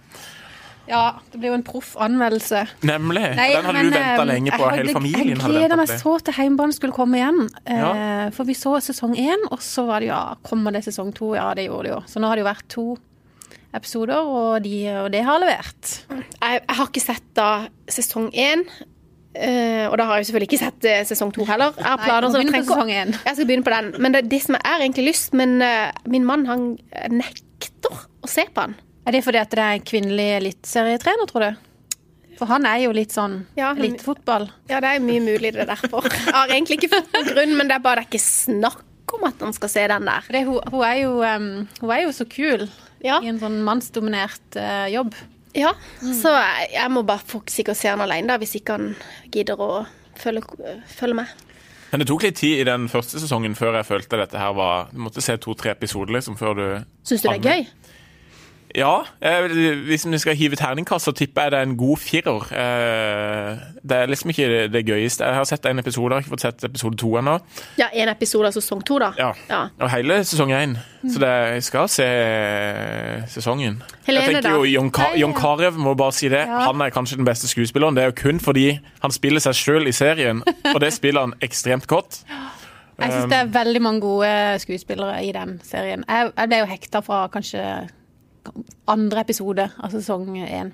Speaker 3: Ja, det blir jo en proff anmeldelse.
Speaker 1: Nemlig.
Speaker 3: Nei,
Speaker 1: Den hadde
Speaker 3: men,
Speaker 1: du venta
Speaker 3: eh,
Speaker 1: lenge
Speaker 3: jeg
Speaker 1: på.
Speaker 3: hadde-
Speaker 1: Hele familien hadde
Speaker 3: Jeg gleder
Speaker 1: venta
Speaker 3: meg
Speaker 1: på det.
Speaker 3: så til Heimbane skulle komme igjen. eh,
Speaker 1: Ja.
Speaker 3: For vi så sesong én, og så var det ja, kommer det sesong to? Ja, det gjorde det jo. Så nå har det jo vært to episoder, og, de, og det har levert.
Speaker 2: Jeg, jeg har ikke sett da sesong én. eh, og da har jeg jo selvfølgelig ikke sett eh, sesong to heller. Jeg har
Speaker 3: Nei,
Speaker 2: planer
Speaker 3: du må
Speaker 2: som jeg
Speaker 3: begynne på
Speaker 2: trenger-
Speaker 3: sesong én.
Speaker 2: Jeg skal begynne på den. Men det, er det som jeg har egentlig lyst Men eh, min mann han eh, nekter å se på den.
Speaker 3: Er det fordi at det er en kvinnelig eliteserietrener, tror du? For han er jo litt sånn
Speaker 2: Ja, han-
Speaker 3: elitefotball.
Speaker 2: Ja, det er mye mulig det er derfor. Jeg har egentlig ikke fått noen grunn, men det er bare det er ikke snakk om at han skal se den der.
Speaker 3: For det- hun, hun, er jo, em, hun er jo så kul
Speaker 2: Ja.
Speaker 3: i en sånn mannsdominert eh, jobb.
Speaker 2: Ja, Så jeg, jeg må bare få sikkert se han alene, da, hvis ikke han gidder å følge, følge med.
Speaker 1: Men det tok litt tid i den første sesongen før jeg følte dette her var Du måtte se to-tre episoder liksom før du
Speaker 2: Syns du det er gøy?
Speaker 1: Ja. Eh, hvis vi skal hive terningkast, så tipper jeg det er en god firer. Eh, det er liksom ikke det, det gøyeste. Jeg har sett én episode, jeg har ikke fått sett episode to ennå.
Speaker 2: Ja, en episode av sesong to, da.
Speaker 1: Ja.
Speaker 2: Ja. Mm.
Speaker 1: Og hele sesong én. Så det, jeg skal se eh, sesongen.
Speaker 2: Helene,
Speaker 1: jeg tenker
Speaker 2: da?
Speaker 1: jo Jon, Ka
Speaker 3: Nei,
Speaker 1: Jon
Speaker 3: ja.
Speaker 1: Carew, må bare si det. Han er kanskje den beste skuespilleren. Det er jo kun fordi han spiller seg sjøl i serien, og det spiller han ekstremt godt.
Speaker 3: Jeg syns det er veldig mange gode skuespillere i den serien. Jeg, jeg ble jo hekta fra kanskje andre episode av sesong én.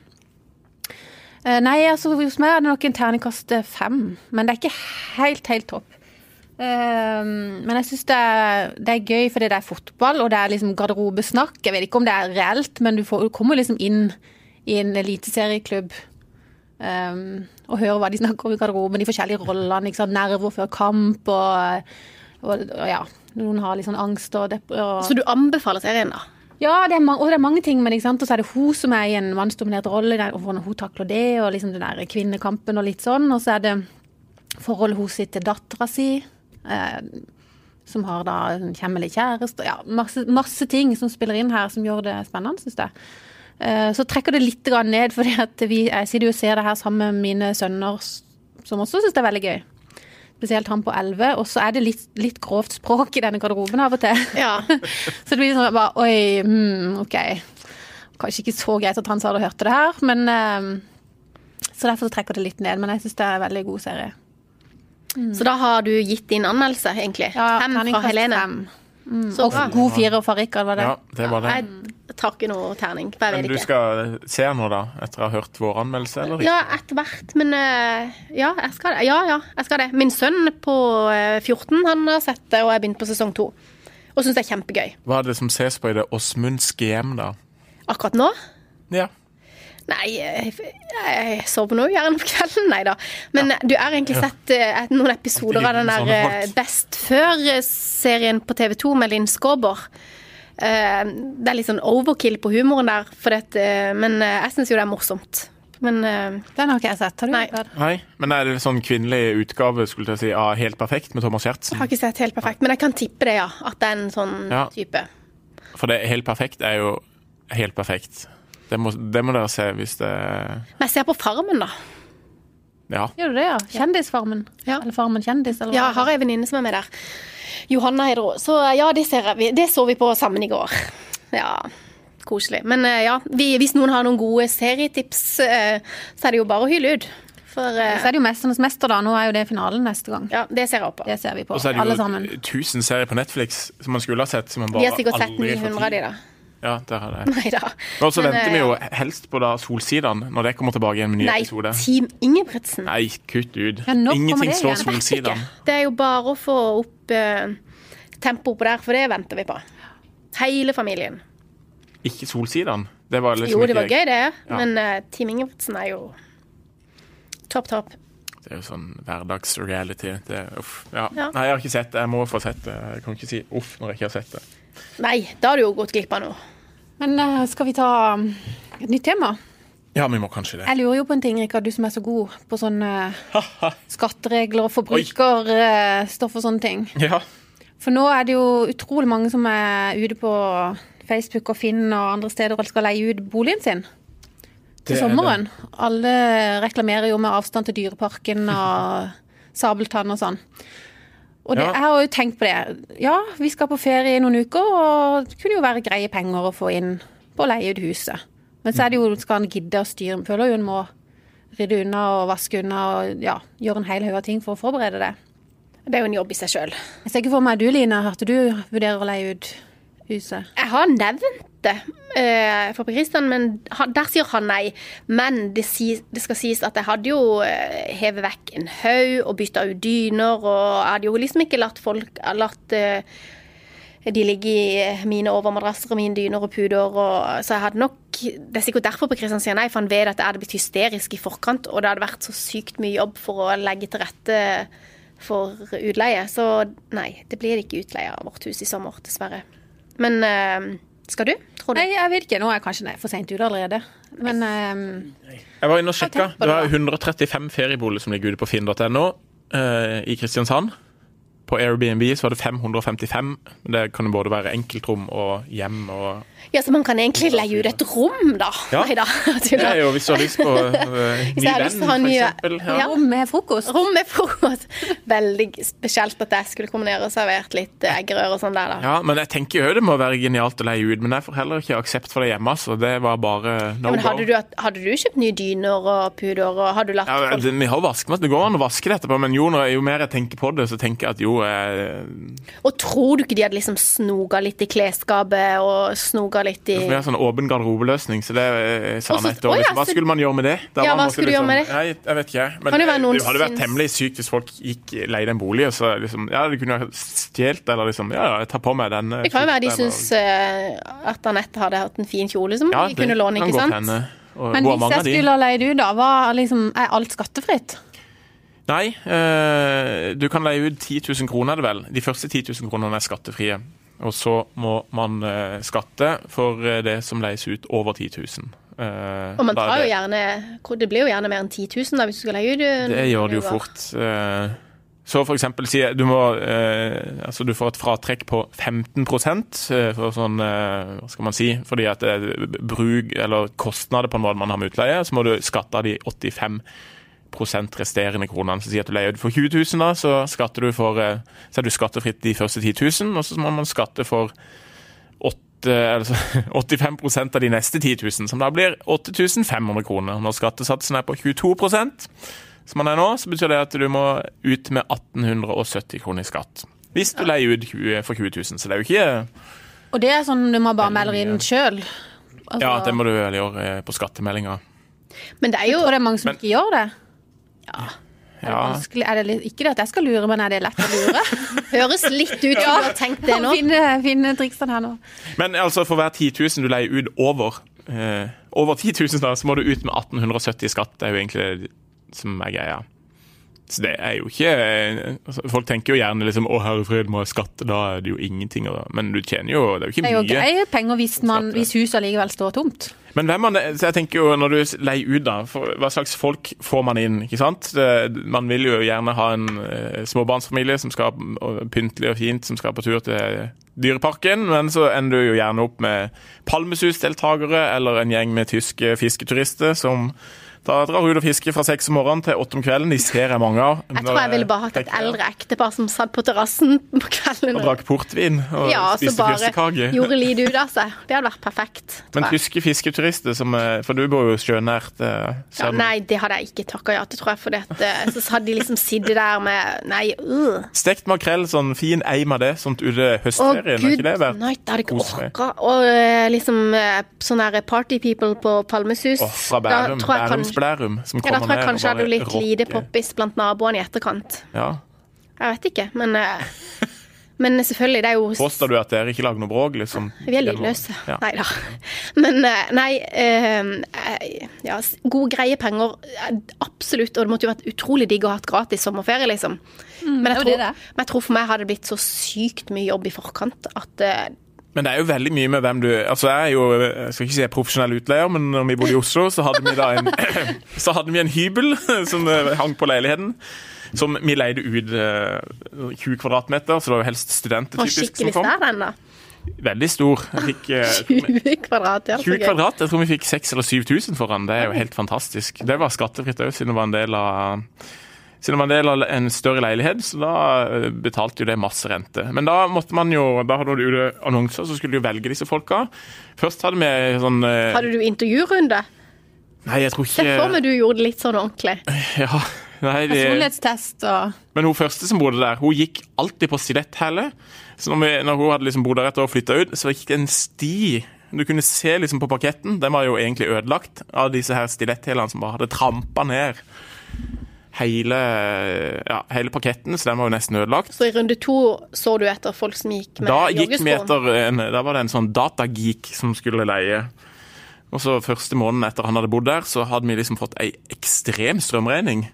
Speaker 3: Eh, Nei, altså hos meg er det nok en terningkast eh, fem, men det er ikke helt, helt topp. Eh, men jeg syns det, er- det er gøy fordi det er fotball, og det er liksom garderobesnakk. Jeg vet ikke om det er reelt, men du, får, du kommer liksom inn i en eliteserieklubb um, og høre hva de snakker om i garderoben, de forskjellige rollene. Ikke sant? Nerver før kamp og, og, og ja. Noen har litt sånn angst og, dep og
Speaker 2: Så du anbefaler serien, da?
Speaker 3: Ja, det er mange, og det er mange ting, men ikke sant? Og så er det hun som er i en mannsdominert rolle, der, og hvordan hun takler det, og liksom den der kvinnekampen og litt sånn. Og så er det forholdet hun sitter til dattera si, eh, som har da en kjemmelig kjæreste. Ja, masse, masse ting som spiller inn her, som gjør det spennende, syns jeg. Eh, så trekker det litt grann ned, fordi at vi, jeg sitter jo og ser det her sammen med mine sønner, s- som også syns det er veldig gøy. Spesielt han på 11. Og så er det litt, litt grovt språk i denne garderoben av og til.
Speaker 2: Ja.
Speaker 3: Så det blir sånn bare Oi, hmm, OK. Kanskje ikke så greit at han sa det og hørte det her, men eh, Så derfor så trekker det litt ned. Men jeg syns det er en veldig god serie.
Speaker 2: Så da har du gitt din anmeldelse, egentlig. fem fra
Speaker 3: Mm. terningkast
Speaker 2: Helene. Mm.
Speaker 3: fem.
Speaker 2: Så
Speaker 3: Og
Speaker 2: bra.
Speaker 3: god fire fra Rikard, var det?
Speaker 1: Ja, det var det.
Speaker 2: Jeg tar ikke noe terning. for Jeg
Speaker 1: Men
Speaker 2: vet
Speaker 1: du
Speaker 2: ikke.
Speaker 1: skal se nå, da? Etter å ha hørt vår anmeldelse, eller ikke?
Speaker 2: Ja, etter hvert. Men eh, ja, jeg skal det. Ja, ja, jeg skal det. Min sønn på eh, 14 han har sett det, og jeg begynte på sesong to. Og syns det er kjempegøy.
Speaker 1: Hva er det som ses på i det Åsmundske hjem, da?
Speaker 2: Akkurat nå
Speaker 1: Ja.
Speaker 2: Nei, jeg, jeg sover nå gjerne på kvelden, nei da. Men du har egentlig sett eh, noen episoder av den
Speaker 1: Alltid
Speaker 2: der eh,
Speaker 1: sånne folk.
Speaker 2: Best før-serien på TV 2 med Linn Skåber. Eh, Det er litt sånn overkill på humoren der, for det, at, eh, men eh, jeg syns jo det er morsomt. Men eh,
Speaker 3: Den har ikke jeg sett. Har du?
Speaker 2: Nei.
Speaker 3: Rikard?
Speaker 1: Nei, men er det en sånn kvinnelig utgave skulle jeg til å si, av Helt perfekt med Thomas
Speaker 2: jeg
Speaker 1: Giertsen?
Speaker 2: har ikke sett helt perfekt. Men jeg kan tippe det, ja. At det er en sånn
Speaker 1: Ja.
Speaker 2: type.
Speaker 1: For det Helt perfekt er jo helt perfekt. Det må, det må dere se hvis det
Speaker 2: Men jeg ser på Farmen, da.
Speaker 1: Ja.
Speaker 3: Gjør du det, ja? Kjendisfarmen?
Speaker 2: Ja.
Speaker 3: Eller Farmen kjendis? Eller
Speaker 2: Ja,
Speaker 3: hva
Speaker 2: jeg har ei venninne som er med der. Johanna heter hun. Så ja, det, ser jeg. vi- det så vi på sammen i går. Ja, koselig. Men eh, ja, vi, hvis noen har noen gode serietips, eh, så er det jo bare å hyle ut. For eh,
Speaker 3: Så er det jo 'Mesternes mester', da. Nå er jo det finalen neste gang.
Speaker 2: ja, det ser jeg opp på.
Speaker 3: Det ser vi på,
Speaker 1: Og så er
Speaker 3: alle
Speaker 1: det
Speaker 3: sammen.
Speaker 1: jo 1000 serier på Netflix som man skulle ha sett. Som man bare
Speaker 2: De har sikkert sett
Speaker 1: aldri får
Speaker 2: 900 av de, da.
Speaker 1: tid. Ja, der er det.
Speaker 2: Nei da.
Speaker 1: Og så
Speaker 2: Men,
Speaker 1: venter vi
Speaker 2: eh,
Speaker 1: jo helst på da Solsidan, når det kommer tilbake i en ny
Speaker 2: Nei,
Speaker 1: episode.
Speaker 2: Team Ingebrigtsen.
Speaker 1: Nei, kutt ut.
Speaker 3: Ja, når kommer
Speaker 1: Ingenting
Speaker 3: det
Speaker 1: slår
Speaker 3: igjen?
Speaker 2: Vet ikke.
Speaker 1: Solsidan.
Speaker 2: Det er jo bare å få opp eh, tempoet på der, for det venter vi på. Hele familien.
Speaker 1: Ikke Solsidan. Det var liksom
Speaker 2: Jo, det var
Speaker 1: ikke
Speaker 2: gøy, det.
Speaker 1: Ja.
Speaker 2: Men eh, Team Ingebrigtsen er jo topp, topp.
Speaker 1: Det er jo sånn hverdagsreality. Det er- Uff. Ja.
Speaker 2: Ja.
Speaker 1: Nei, jeg har ikke sett det. Jeg må få sett det. Jeg kan ikke si uff når jeg ikke har sett det.
Speaker 2: Nei, da har du jo gått glipp av noe.
Speaker 3: Men eh, skal vi ta um, et nytt tema?
Speaker 1: Ja, vi må kanskje det.
Speaker 3: Jeg lurer jo på en ting, Rikard, du som er så god på sånne skatteregler og forbrukerstoff og sånne ting.
Speaker 1: Ja.
Speaker 3: For nå er det jo utrolig mange som er ute på Facebook og Finn og andre steder og skal leie ut boligen sin
Speaker 1: Det
Speaker 3: til
Speaker 1: er
Speaker 3: sommeren. Alle reklamerer jo med avstand til Dyreparken og Sabeltann og sånn. Og det,
Speaker 1: Ja.
Speaker 3: jeg har jo tenkt på det. Ja, vi skal på ferie i noen uker, og det kunne jo være greie penger å få inn på å leie ut huset. Men så er det jo, skal en gidde å styre? Føler jo en må rydde unna og vaske unna og ja, gjøre en hel haug av ting for å forberede det.
Speaker 2: Det er jo en jobb i seg sjøl.
Speaker 3: Jeg ser ikke for meg du, Line, hørte du vurderer å leie ut huset.
Speaker 2: Jeg har nevnt det eh, for Per Kristian, men han, der sier han nei. Men det, sies- det skal sies at jeg hadde jo eh, hevet vekk en haug og bytta ut dyner, og jeg hadde jo liksom ikke latt folk latt eh, de ligge i eh, mine overmadrasser og mine dyner og puder. Og, så jeg hadde nok Det er sikkert derfor Per Kristian sier nei, for han vet at jeg hadde blitt hysterisk i forkant, og det hadde vært så sykt mye jobb for å legge til rette for utleie. Så nei, det blir ikke utleie av vårt hus i sommer, dessverre. Men eh, skal du, tror du?
Speaker 3: Nei, jeg vet ikke. Nå er jeg kanskje nei, for seint ute allerede. Men eh,
Speaker 1: Jeg var inne og
Speaker 3: Jeg har
Speaker 1: sjekka.
Speaker 3: tenkt på
Speaker 1: Det
Speaker 3: det,
Speaker 1: var
Speaker 3: da.
Speaker 1: 135 ferieboliger som ligger ute på finn.no eh, i Kristiansand. På Airbnb så var det 555. Det kan jo både være enkeltrom og hjem og
Speaker 2: Ja, så man kan egentlig leie ut et rom, da.
Speaker 1: Ja.
Speaker 2: Nei da.
Speaker 1: Det er jo hvis du har lyst på eh,
Speaker 2: Hvis jeg har lyst til å ha en ny-
Speaker 1: eksempel. Ja.
Speaker 2: Ja.
Speaker 3: rom med frokost.
Speaker 2: Rom med frokost. Veldig spesielt at jeg skulle kombinere og servert litt eh, eggerøre og sånn der, da.
Speaker 1: Ja, men jeg tenker jo det må være genialt å leie ut, men jeg får heller ikke aksept for det hjemme, så det var bare
Speaker 2: Ja,
Speaker 1: no
Speaker 2: men hadde du,
Speaker 1: go.
Speaker 2: hadde du kjøpt nye dyner og puder, og hadde du latt
Speaker 1: Ja, men
Speaker 2: folk
Speaker 1: det- vi har vaskemaskin. Det går an å vaske det etterpå, men jo, når, jo mer jeg tenker på det, så tenker jeg at jo eh,
Speaker 2: Og tror du ikke de hadde liksom snoga litt i klesskapet og snoga litt i
Speaker 1: Vi har sånn åpen garderobeløsning, så det eh, sa
Speaker 2: Og så-
Speaker 1: han etter.
Speaker 2: å ja,
Speaker 1: liksom, Hva
Speaker 2: så-
Speaker 1: skulle man gjøre med det? Da
Speaker 2: Ja,
Speaker 1: var man
Speaker 2: hva skulle du
Speaker 1: liksom-
Speaker 2: gjøre med det?
Speaker 1: Nei, jeg vet ikke. Men
Speaker 2: Kan det være noen
Speaker 1: det hadde vært
Speaker 2: syns-
Speaker 1: temmelig sykt hvis folk gikk leide en bolig, og så liksom Ja, de kunne ha stjålet, eller liksom Ja, ja, jeg tar på meg den.
Speaker 2: Det kan jo være de syns eh, at Anette hadde hatt en fin kjole som de kunne låne, ikke sant?
Speaker 1: Og
Speaker 3: Men
Speaker 1: hvor
Speaker 3: hvis
Speaker 1: mange
Speaker 3: jeg
Speaker 1: av de?
Speaker 3: skulle ha leid ut, da, var liksom, er alt skattefritt?
Speaker 1: Nei, eh, du kan leie ut 10 000 kroner, er det vel. De første 10 000 kronene er skattefrie. Og så må man eh, skatte for eh, det som leies ut over 10 000. Eh,
Speaker 2: Og man
Speaker 1: da er
Speaker 2: tar jo
Speaker 1: det-
Speaker 2: gjerne Det blir jo gjerne mer enn 10 000 da, hvis du skal leie ut. eh,
Speaker 1: Det gjør det jo
Speaker 2: noen ganger.
Speaker 1: fort. Eh, Så for eksempel sier du må eh, Altså, du får et fratrekk på 15 eh, for sånn eh, Hva skal man si Fordi at det er bruk eller kostnader på en måte man har med utleie, så må du skatte av de 85 resterende kronene. Så sier at du leier ut for 20 000, da, så, skatter du for, eh, så er du skattefritt de første 10 000, og så må man skatte for åtte- altså, 85 av de neste 10 000, som da blir 8500 kroner. Når skattesatsen er på 22 som man er nå, så betyr det at du må ut med 1870 kroner i skatt. Hvis du leier ut 20, for 20 000, så det er jo ikke
Speaker 3: Og det er sånn du må bare melde inn sjøl. Altså,
Speaker 1: Ja, det må du vel gjøre eh, på skattemeldinga.
Speaker 2: Men det er jo
Speaker 3: Og det er mange som ikke gjør det. Er det
Speaker 1: Ja.
Speaker 3: vanskelig? Er det litt, ikke det at jeg skal lure, men er det lett å lure?
Speaker 2: høres litt ut som du har tenkt det nå.
Speaker 3: Finne, finne triksene her nå.
Speaker 1: Men altså, for hver 10 000 du leier ut over, eh, over 10 000, da, så må du ut med 1870 i skatt. Det er jo egentlig det som er greia. Så det er jo ikke eh, altså, Folk tenker jo gjerne liksom 'Å, herre fred, må jeg skatte?' Da er det jo ingenting. og da- Men du tjener jo Det er jo ikke
Speaker 3: Det er jo
Speaker 1: mye.
Speaker 3: greie penger hvis,
Speaker 1: Skatt,
Speaker 3: man,
Speaker 1: ja.
Speaker 3: hvis huset allikevel står tomt.
Speaker 1: Men hvem man, så jeg tenker jo når du leier ut da, for, hva slags folk får man inn, ikke sant? Det, man vil jo gjerne ha en eh, småbarnsfamilie som skal og pyntelig og fint, som skal på tur til dyreparken, men så ender du jo gjerne opp med palmesusdeltagere eller en gjeng med tyske fisketurister som da drar ut og fisker fra seks om morgenen til åtte om kvelden. De ser jeg mange av.
Speaker 2: Jeg tror jeg
Speaker 1: eh,
Speaker 2: ville bare hatt et eldre ektepar som satt på terrassen på kvelden
Speaker 1: Og drakk portvin og
Speaker 2: ja, og så
Speaker 1: spiste
Speaker 2: bare
Speaker 1: fyrstekake.
Speaker 2: gjorde lite ut av seg. Det hadde vært perfekt.
Speaker 1: Men
Speaker 2: Tror jeg.
Speaker 1: tyske fisketurister, som, eh, for du bor jo sjønært eh,
Speaker 2: Ja,
Speaker 1: Sørlandet.
Speaker 2: nei, det hadde jeg ikke takka ja til, tror jeg. For det at, eh, så hadde de liksom sittet der med Nei, øh.
Speaker 1: Stekt makrell, sånn fin eim av det, sånt ute
Speaker 2: Å,
Speaker 1: høstferien. er
Speaker 2: gud,
Speaker 1: ikke det verdt?
Speaker 2: nei, det hadde jeg ikke
Speaker 1: Kos meg.
Speaker 2: orka. Og eh, liksom eh, sånne her party people på Palmesus.
Speaker 1: Å, fra Bærum.
Speaker 2: Da tror jeg
Speaker 1: Bærums
Speaker 2: kanskje-
Speaker 1: Blærum. Som
Speaker 2: Ja, da
Speaker 1: kommer ned
Speaker 2: tror jeg
Speaker 1: og
Speaker 2: kanskje jeg hadde
Speaker 1: bare
Speaker 2: blitt lite
Speaker 1: rocker.
Speaker 2: poppis blant naboene i etterkant.
Speaker 1: Ja.
Speaker 2: Jeg vet ikke, men eh, Men selvfølgelig, det er jo
Speaker 1: Påstår du at dere ikke lager noe bråk, liksom?
Speaker 2: Vi er lydløse.
Speaker 1: Ja.
Speaker 2: Nei da. Men eh, nei eh, eh, ja, s- God greie penger, eh, absolutt. Og det måtte jo vært utrolig digg å ha hatt gratis sommerferie, liksom. men, jeg
Speaker 3: Mm, det er jo det
Speaker 2: tror,
Speaker 3: det er.
Speaker 2: men jeg tror for meg hadde det blitt så sykt mye jobb i forkant at eh,
Speaker 1: Men det er jo veldig mye med hvem du Altså, jeg er jo Jeg skal ikke si jeg er profesjonell utleier, men når vi bodde i Oslo, så hadde vi da en Så hadde vi en hybel som eh, hang på leiligheten. Som vi leide ut eh, 20 kvadratmeter, så det var jo helst studenter
Speaker 2: var
Speaker 1: typisk sånn. som
Speaker 2: skikkelig
Speaker 1: kom.
Speaker 2: stær, den, da.
Speaker 1: Veldig stor. Jeg fikk eh,
Speaker 2: 20 kvadrat, ja. så
Speaker 1: 20
Speaker 2: gøy.
Speaker 1: kvadrat. Jeg tror vi fikk 6000 eller 7000 for den. Det er jo helt fantastisk. Det var skattefritt òg, siden det var en del av siden det var en del av en større leilighet, så da eh, betalte jo det masse rente. Men da måtte man jo, da hadde du jo annonser, så skulle du jo velge disse folka. Først hadde vi sånn eh,
Speaker 2: Hadde du intervjurunde?
Speaker 1: Nei, jeg tror
Speaker 2: Se for
Speaker 1: ikke
Speaker 2: meg du gjorde det litt sånn ordentlig.
Speaker 1: ja, nei, de,
Speaker 3: Personlighetstest og
Speaker 1: Men hun første som bodde der, hun gikk alltid på stilletthæle. Så når, vi, når hun hadde liksom bodd der et år og flytta ut, så gikk det en sti Du kunne se liksom på parketten, den var jo egentlig ødelagt av disse her stiletthælene som bare hadde trampa ned hele, ja, hele parketten, så den var jo nesten ødelagt.
Speaker 2: Så i runde to så du etter folk som gikk med
Speaker 1: Da gikk vi
Speaker 2: joggesko.
Speaker 1: etter en, Da var det en sånn datageek som skulle leie. Og så første måneden etter han hadde bodd der, så hadde vi liksom fått ei ekstrem strømregning.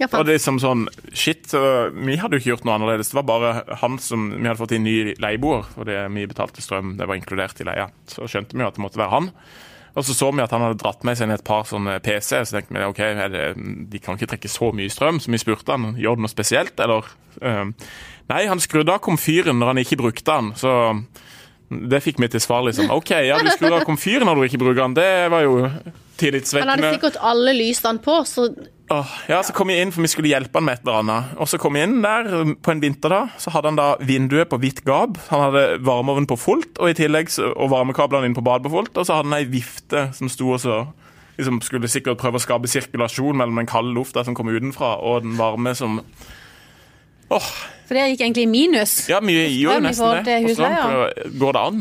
Speaker 2: Ja,
Speaker 1: Og
Speaker 2: faen.
Speaker 1: det er liksom sånn, shit, så Vi hadde jo ikke gjort noe annerledes. Det var bare han som Vi hadde fått inn ny leieboer, fordi vi betalte strøm. Det var inkludert i leia. Så skjønte vi jo at det måtte være han. Og så så vi at han hadde dratt med seg inn et par sånne PC, så tenkte vi ok, er det, de kan ikke trekke så mye strøm, så vi spurte han gjør det noe spesielt, eller Ehm, Nei, han skrudde av komfyren når han ikke brukte den, så det fikk vi til svar, liksom. OK, ja, du skrur av komfyren når du ikke bruker den, det var jo
Speaker 2: Han hadde
Speaker 1: tillitsvekkende.
Speaker 2: sikkert alle lysene på, så
Speaker 1: Åh, ja, så kom jeg inn, for vi skulle hjelpe han med et eller annet. Og så kom jeg inn der um, på en vinterdag, så hadde han da vinduet på hvitt gap. Han hadde varmeovnen på fullt, og i tillegg så, og varmekablene inn på badet på fullt. Og så hadde han ei vifte som sto og så liksom skulle sikkert prøve å skape sirkulasjon mellom den kalde lufta som kom utenfra, og den varme som
Speaker 3: Så det gikk egentlig i minus.
Speaker 1: Ja, mye gir jo
Speaker 3: Strøm i forhold
Speaker 1: nesten det. Og
Speaker 3: til
Speaker 1: sånn
Speaker 3: husleia.
Speaker 1: prøver- går det an.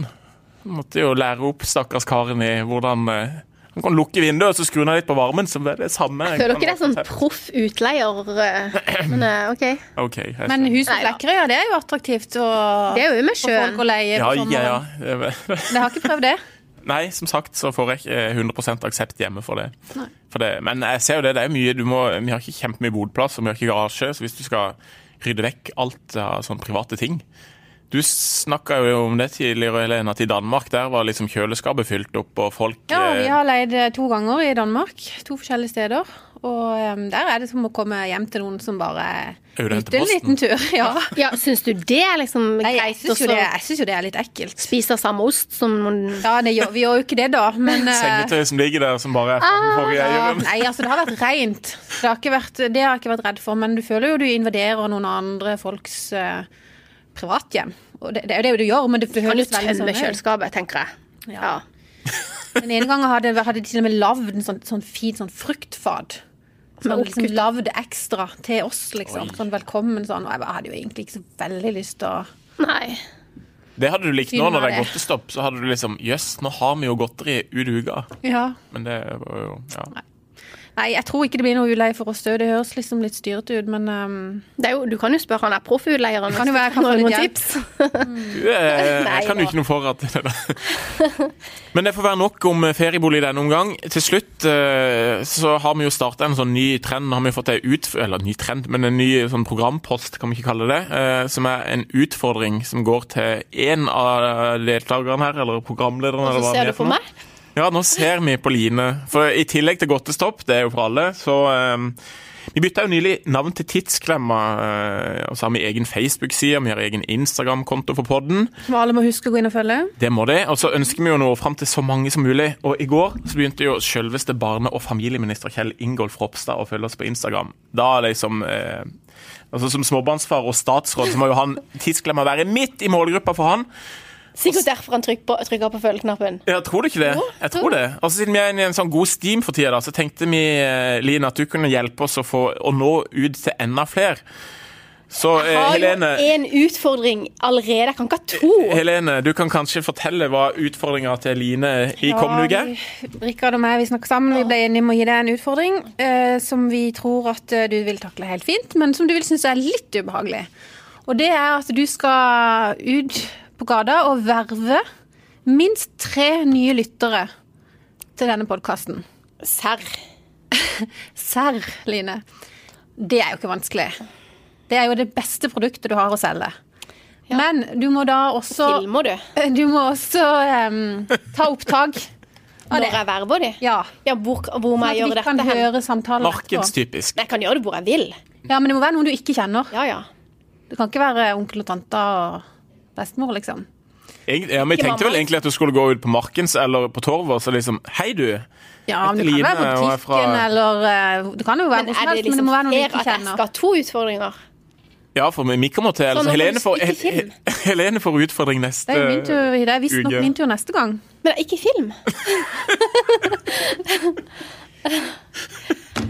Speaker 1: Måtte jo lære opp stakkars karen i hvordan eh, Han kan lukke vinduet, og så skrur han litt på varmen, så blir det samme.
Speaker 2: føler dere det er sånn proff utleier. eh, Men eh, OK.
Speaker 1: Ok, jeg
Speaker 3: Men
Speaker 1: skjønner.
Speaker 3: hus på Flekkerøya, det er jo attraktivt. Og
Speaker 2: Det er jo med
Speaker 3: for
Speaker 2: sjøen.
Speaker 3: folk å leie
Speaker 1: ja,
Speaker 3: på sommeren.
Speaker 1: ja, ja.
Speaker 3: Jeg har ikke prøvd det.
Speaker 1: Nei, som sagt så får jeg ikke eh, 100 aksept hjemme for det. for det. Men jeg ser jo det, det er mye du må, vi har ikke kjempemye bodplass, og vi har ikke garasje, så hvis du skal rydde vekk alt av sånne private ting, Du snakka jo om det tidligere, Helene, at i Danmark der var liksom kjøleskapet fylt opp, og folk
Speaker 3: Ja,
Speaker 1: eh,
Speaker 3: vi har leid eh, to ganger i Danmark. To forskjellige steder. Og eh, der er det som å komme hjem til noen som bare
Speaker 1: Er jo det
Speaker 3: Ut en
Speaker 1: henteposten?
Speaker 3: liten tur. Ja.
Speaker 2: Ja, Syns du det er liksom
Speaker 3: Nei, jeg
Speaker 2: greit å
Speaker 3: syns jo,
Speaker 2: så
Speaker 3: det- jeg synes jo det er litt ekkelt.
Speaker 2: spise samme ost som noen
Speaker 3: Ja, det gjør, vi gjør jo ikke det, da. Men eh,
Speaker 1: sengetøy som ligger der, som bare er for
Speaker 3: Ah, ja,
Speaker 1: eieren.
Speaker 3: nei, altså det har vært rent. Det har, ikke vært, det har jeg ikke vært redd for. Men du føler jo du invaderer noen andre folks eh, privathjem. Og det, det er jo det du gjør, men det, det
Speaker 2: kan jo
Speaker 3: høres veldig sånn
Speaker 2: tømme
Speaker 3: ut.
Speaker 2: kjøleskapet, tenker jeg. Ja.
Speaker 3: Ja. Den ene gangen hadde, hadde de til og med lagd en sånn, sånn fin sånn fruktfat. Som hadde liksom lagd ekstra til oss, liksom. Sånn velkommen sånn. Og jeg bare hadde jo egentlig ikke så veldig lyst til å
Speaker 2: Nei.
Speaker 1: Det hadde du likt nå
Speaker 3: Filma
Speaker 1: når det er
Speaker 3: det.
Speaker 1: godtestopp. Så hadde du liksom Jøss, nå har vi jo godteri ut uka.
Speaker 3: Ja.
Speaker 1: Men det var jo ja.
Speaker 3: Nei, jeg tror ikke det blir noe uleie for oss òg. Det høres liksom litt styrete ut, men ehm,
Speaker 2: Det er jo, du kan jo spørre han der proffutleieren
Speaker 3: Kan jo være jeg kan få litt hjelp.
Speaker 1: Du, eh,
Speaker 2: Nei,
Speaker 1: jeg kan jo
Speaker 2: da.
Speaker 1: ikke noe for at det der. Men det får være nok om eh, feriebolig i denne omgang. Til slutt eh, så har vi jo starta en sånn ny trend. Nå har vi fått ei ut... Eller ny trend, men en ny sånn programpost, kan vi ikke kalle det. eh, Som er en utfordring som går til én av deltakerne her, eller programlederen,
Speaker 2: Og
Speaker 1: eller
Speaker 2: så
Speaker 1: hva
Speaker 2: ser
Speaker 1: det
Speaker 2: du
Speaker 1: er
Speaker 2: på
Speaker 1: for noe.
Speaker 2: meg.
Speaker 1: Ja, nå ser vi på Line. For i tillegg til godtestopp, det er jo for alle, så eh, Vi bytta jo nylig navn til Tidsklemma, eh, og så har vi egen Facebook-side, vi har egen Instagram-konto for podden.
Speaker 3: som alle må huske å gå inn og følge.
Speaker 1: Det må det. Og så ønsker vi jo å nå fram til så mange som mulig. Og i går så begynte jo selveste barne- og familieminister Kjell Ingolf Ropstad å følge oss på Instagram. Da liksom eh, Altså Som småbarnsfar og statsråd så må jo han tidsklemma være midt i målgruppa for han.
Speaker 2: Sikkert derfor han trykker på, trykker på følgeknappen.
Speaker 1: Ja, tror du ikke det? Jeg tror det. Og så Siden vi er inne i en sånn god steam for tida, da, så tenkte vi eh, Line, at du kunne hjelpe oss å, få, å nå ut til enda flere. Så eh,
Speaker 2: Har jo
Speaker 1: Helene Eh,
Speaker 2: en utfordring allerede. Jeg kan ikke ha to.
Speaker 1: Helene, du kan kanskje fortelle hva utfordringa til Line i kommende uke?
Speaker 3: Ja, vi- Rikard og meg vi snakket sammen. Vi ble enige om å gi deg en utfordring eh, som vi tror at eh, du vil takle helt fint, men som du vil synes er litt ubehagelig. Og det er at du skal ut på gata og verve minst tre nye lyttere til denne podkasten.
Speaker 2: Serr.
Speaker 3: Serr, Line. Det er jo ikke vanskelig. Det er jo det beste produktet du har å selge. Men du må da også
Speaker 2: Filmer du
Speaker 3: Du må også em, ta opptak.
Speaker 2: når jeg verver de?
Speaker 3: Ja.
Speaker 2: Ja, hvor, hvor må jeg
Speaker 3: Sånn
Speaker 2: gjøre
Speaker 3: at vi kan
Speaker 2: dette hen?
Speaker 3: høre samtalen etterpå.
Speaker 1: Markedstypisk.
Speaker 2: Jeg kan gjøre det hvor jeg vil.
Speaker 3: Ja, men det må være noen du ikke kjenner.
Speaker 2: Ja, ja.
Speaker 3: Det kan ikke være onkel og tante og bestemor, liksom.
Speaker 1: Egentlig, ja, men jeg
Speaker 2: Ikke
Speaker 1: tenkte vel
Speaker 2: mamma.
Speaker 1: egentlig at du skulle gå ut på Markens eller på Torvet og liksom Hei, du!
Speaker 3: Ja, men det
Speaker 1: Line
Speaker 3: kan være på
Speaker 1: og er
Speaker 3: butikken
Speaker 1: fra-
Speaker 3: eller eh, Det kan jo være
Speaker 2: Men
Speaker 3: hvor som helst,
Speaker 2: er det
Speaker 3: men det
Speaker 2: liksom
Speaker 3: må være noen du
Speaker 2: fair
Speaker 3: ikke
Speaker 2: at jeg
Speaker 3: kjenner.
Speaker 2: skal ha to utfordringer?
Speaker 1: Ja, for vi kommer til altså,
Speaker 2: nå må du
Speaker 1: Helene, får,
Speaker 2: ikke
Speaker 1: Hel-
Speaker 2: film.
Speaker 1: Hel- Helene får utfordring neste
Speaker 3: Det er jo min tur, det er visstnok
Speaker 1: uke.
Speaker 3: min tur neste gang.
Speaker 2: Men det er ikke film.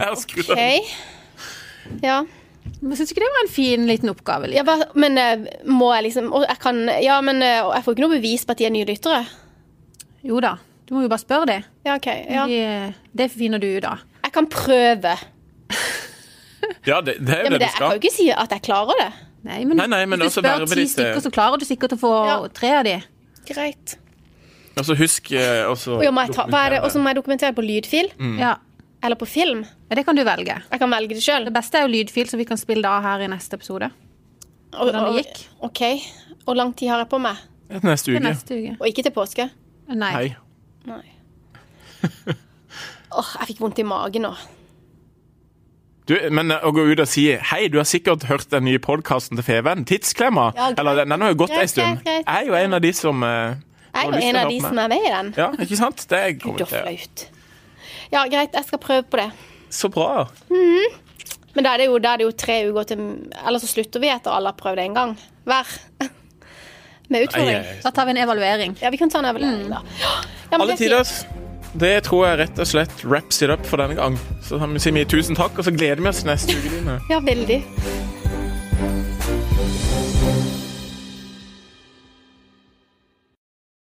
Speaker 1: Jeg skrur av.
Speaker 2: OK. Ja.
Speaker 3: Men Syns du ikke det var en fin liten oppgave?
Speaker 2: ja
Speaker 3: Line?
Speaker 2: hva, men eh, må jeg liksom og jeg kan, Ja, men eh, og jeg får ikke noe bevis på at de er nye lyttere.
Speaker 3: Jo da, du må jo bare spørre det.
Speaker 2: Ja, OK. Ja.
Speaker 3: De- Det finner du ut av.
Speaker 2: Jeg kan prøve.
Speaker 1: Ja, det, det er
Speaker 2: Ja,
Speaker 1: jo
Speaker 2: men
Speaker 1: det
Speaker 2: det,
Speaker 1: du
Speaker 2: jeg kan jo
Speaker 1: skal.
Speaker 2: ikke si at jeg klarer det.
Speaker 3: Nei, men,
Speaker 1: Nei, nei, men
Speaker 3: hvis
Speaker 1: også
Speaker 3: du spør
Speaker 1: verve eh,
Speaker 3: ti
Speaker 1: disse-
Speaker 3: stykker, så klarer du sikkert å få
Speaker 2: Ja.
Speaker 3: tre av de.
Speaker 2: Greit.
Speaker 1: Og så husk eh, også
Speaker 2: Og ja, må jeg ta, hva er det? Og så må jeg dokumentere på lydfil
Speaker 1: Mm.
Speaker 3: Ja,
Speaker 2: eller på film.
Speaker 3: Ja, Det kan du velge.
Speaker 2: Jeg kan velge det sjøl.
Speaker 3: Det beste er jo lydfil, så vi kan spille det av her i neste episode. hvordan det gikk.
Speaker 2: OK. Hvor lang tid har jeg på meg?
Speaker 1: Neste
Speaker 3: Til
Speaker 1: uke.
Speaker 3: neste uke.
Speaker 2: Og ikke til påske?
Speaker 3: Nei.
Speaker 1: Hei.
Speaker 2: Nei. Åh, jeg fikk vondt i magen nå.
Speaker 1: Du, men eh, å gå ut og si 'Hei, du har sikkert hørt den nye podkasten til Feven, Tidsklemma'.
Speaker 2: Ja, greit.
Speaker 1: Eller den, den har jo gått
Speaker 2: Greit,
Speaker 1: ei stund.
Speaker 2: greit, greit.
Speaker 1: Jeg er jo en av de som eh,
Speaker 2: Jeg
Speaker 1: har lyst
Speaker 2: er jo
Speaker 1: til å
Speaker 2: en av
Speaker 1: høre
Speaker 2: de
Speaker 1: på
Speaker 2: som
Speaker 1: meg.
Speaker 2: er med i den.
Speaker 1: Ja, ikke sant? Det kommer
Speaker 2: Da
Speaker 1: til.
Speaker 2: flaut. Ja, greit, jeg skal prøve på det.
Speaker 1: Så bra.
Speaker 2: Men da er det jo, da er det jo tre uker til Eller så slutter vi etter alle har prøvd en gang. Hver. Med utfordring.
Speaker 1: Nei, eh,
Speaker 3: Da tar vi en evaluering.
Speaker 2: Ja, vi kan ta en evaluering, da. Ja, men
Speaker 1: Alle
Speaker 2: det er fint.
Speaker 1: tiders. Det tror jeg rett og slett wraps it up for denne gang. Så sier vi tusen takk, og så gleder vi oss til neste uke. Line.
Speaker 2: Ja, veldig.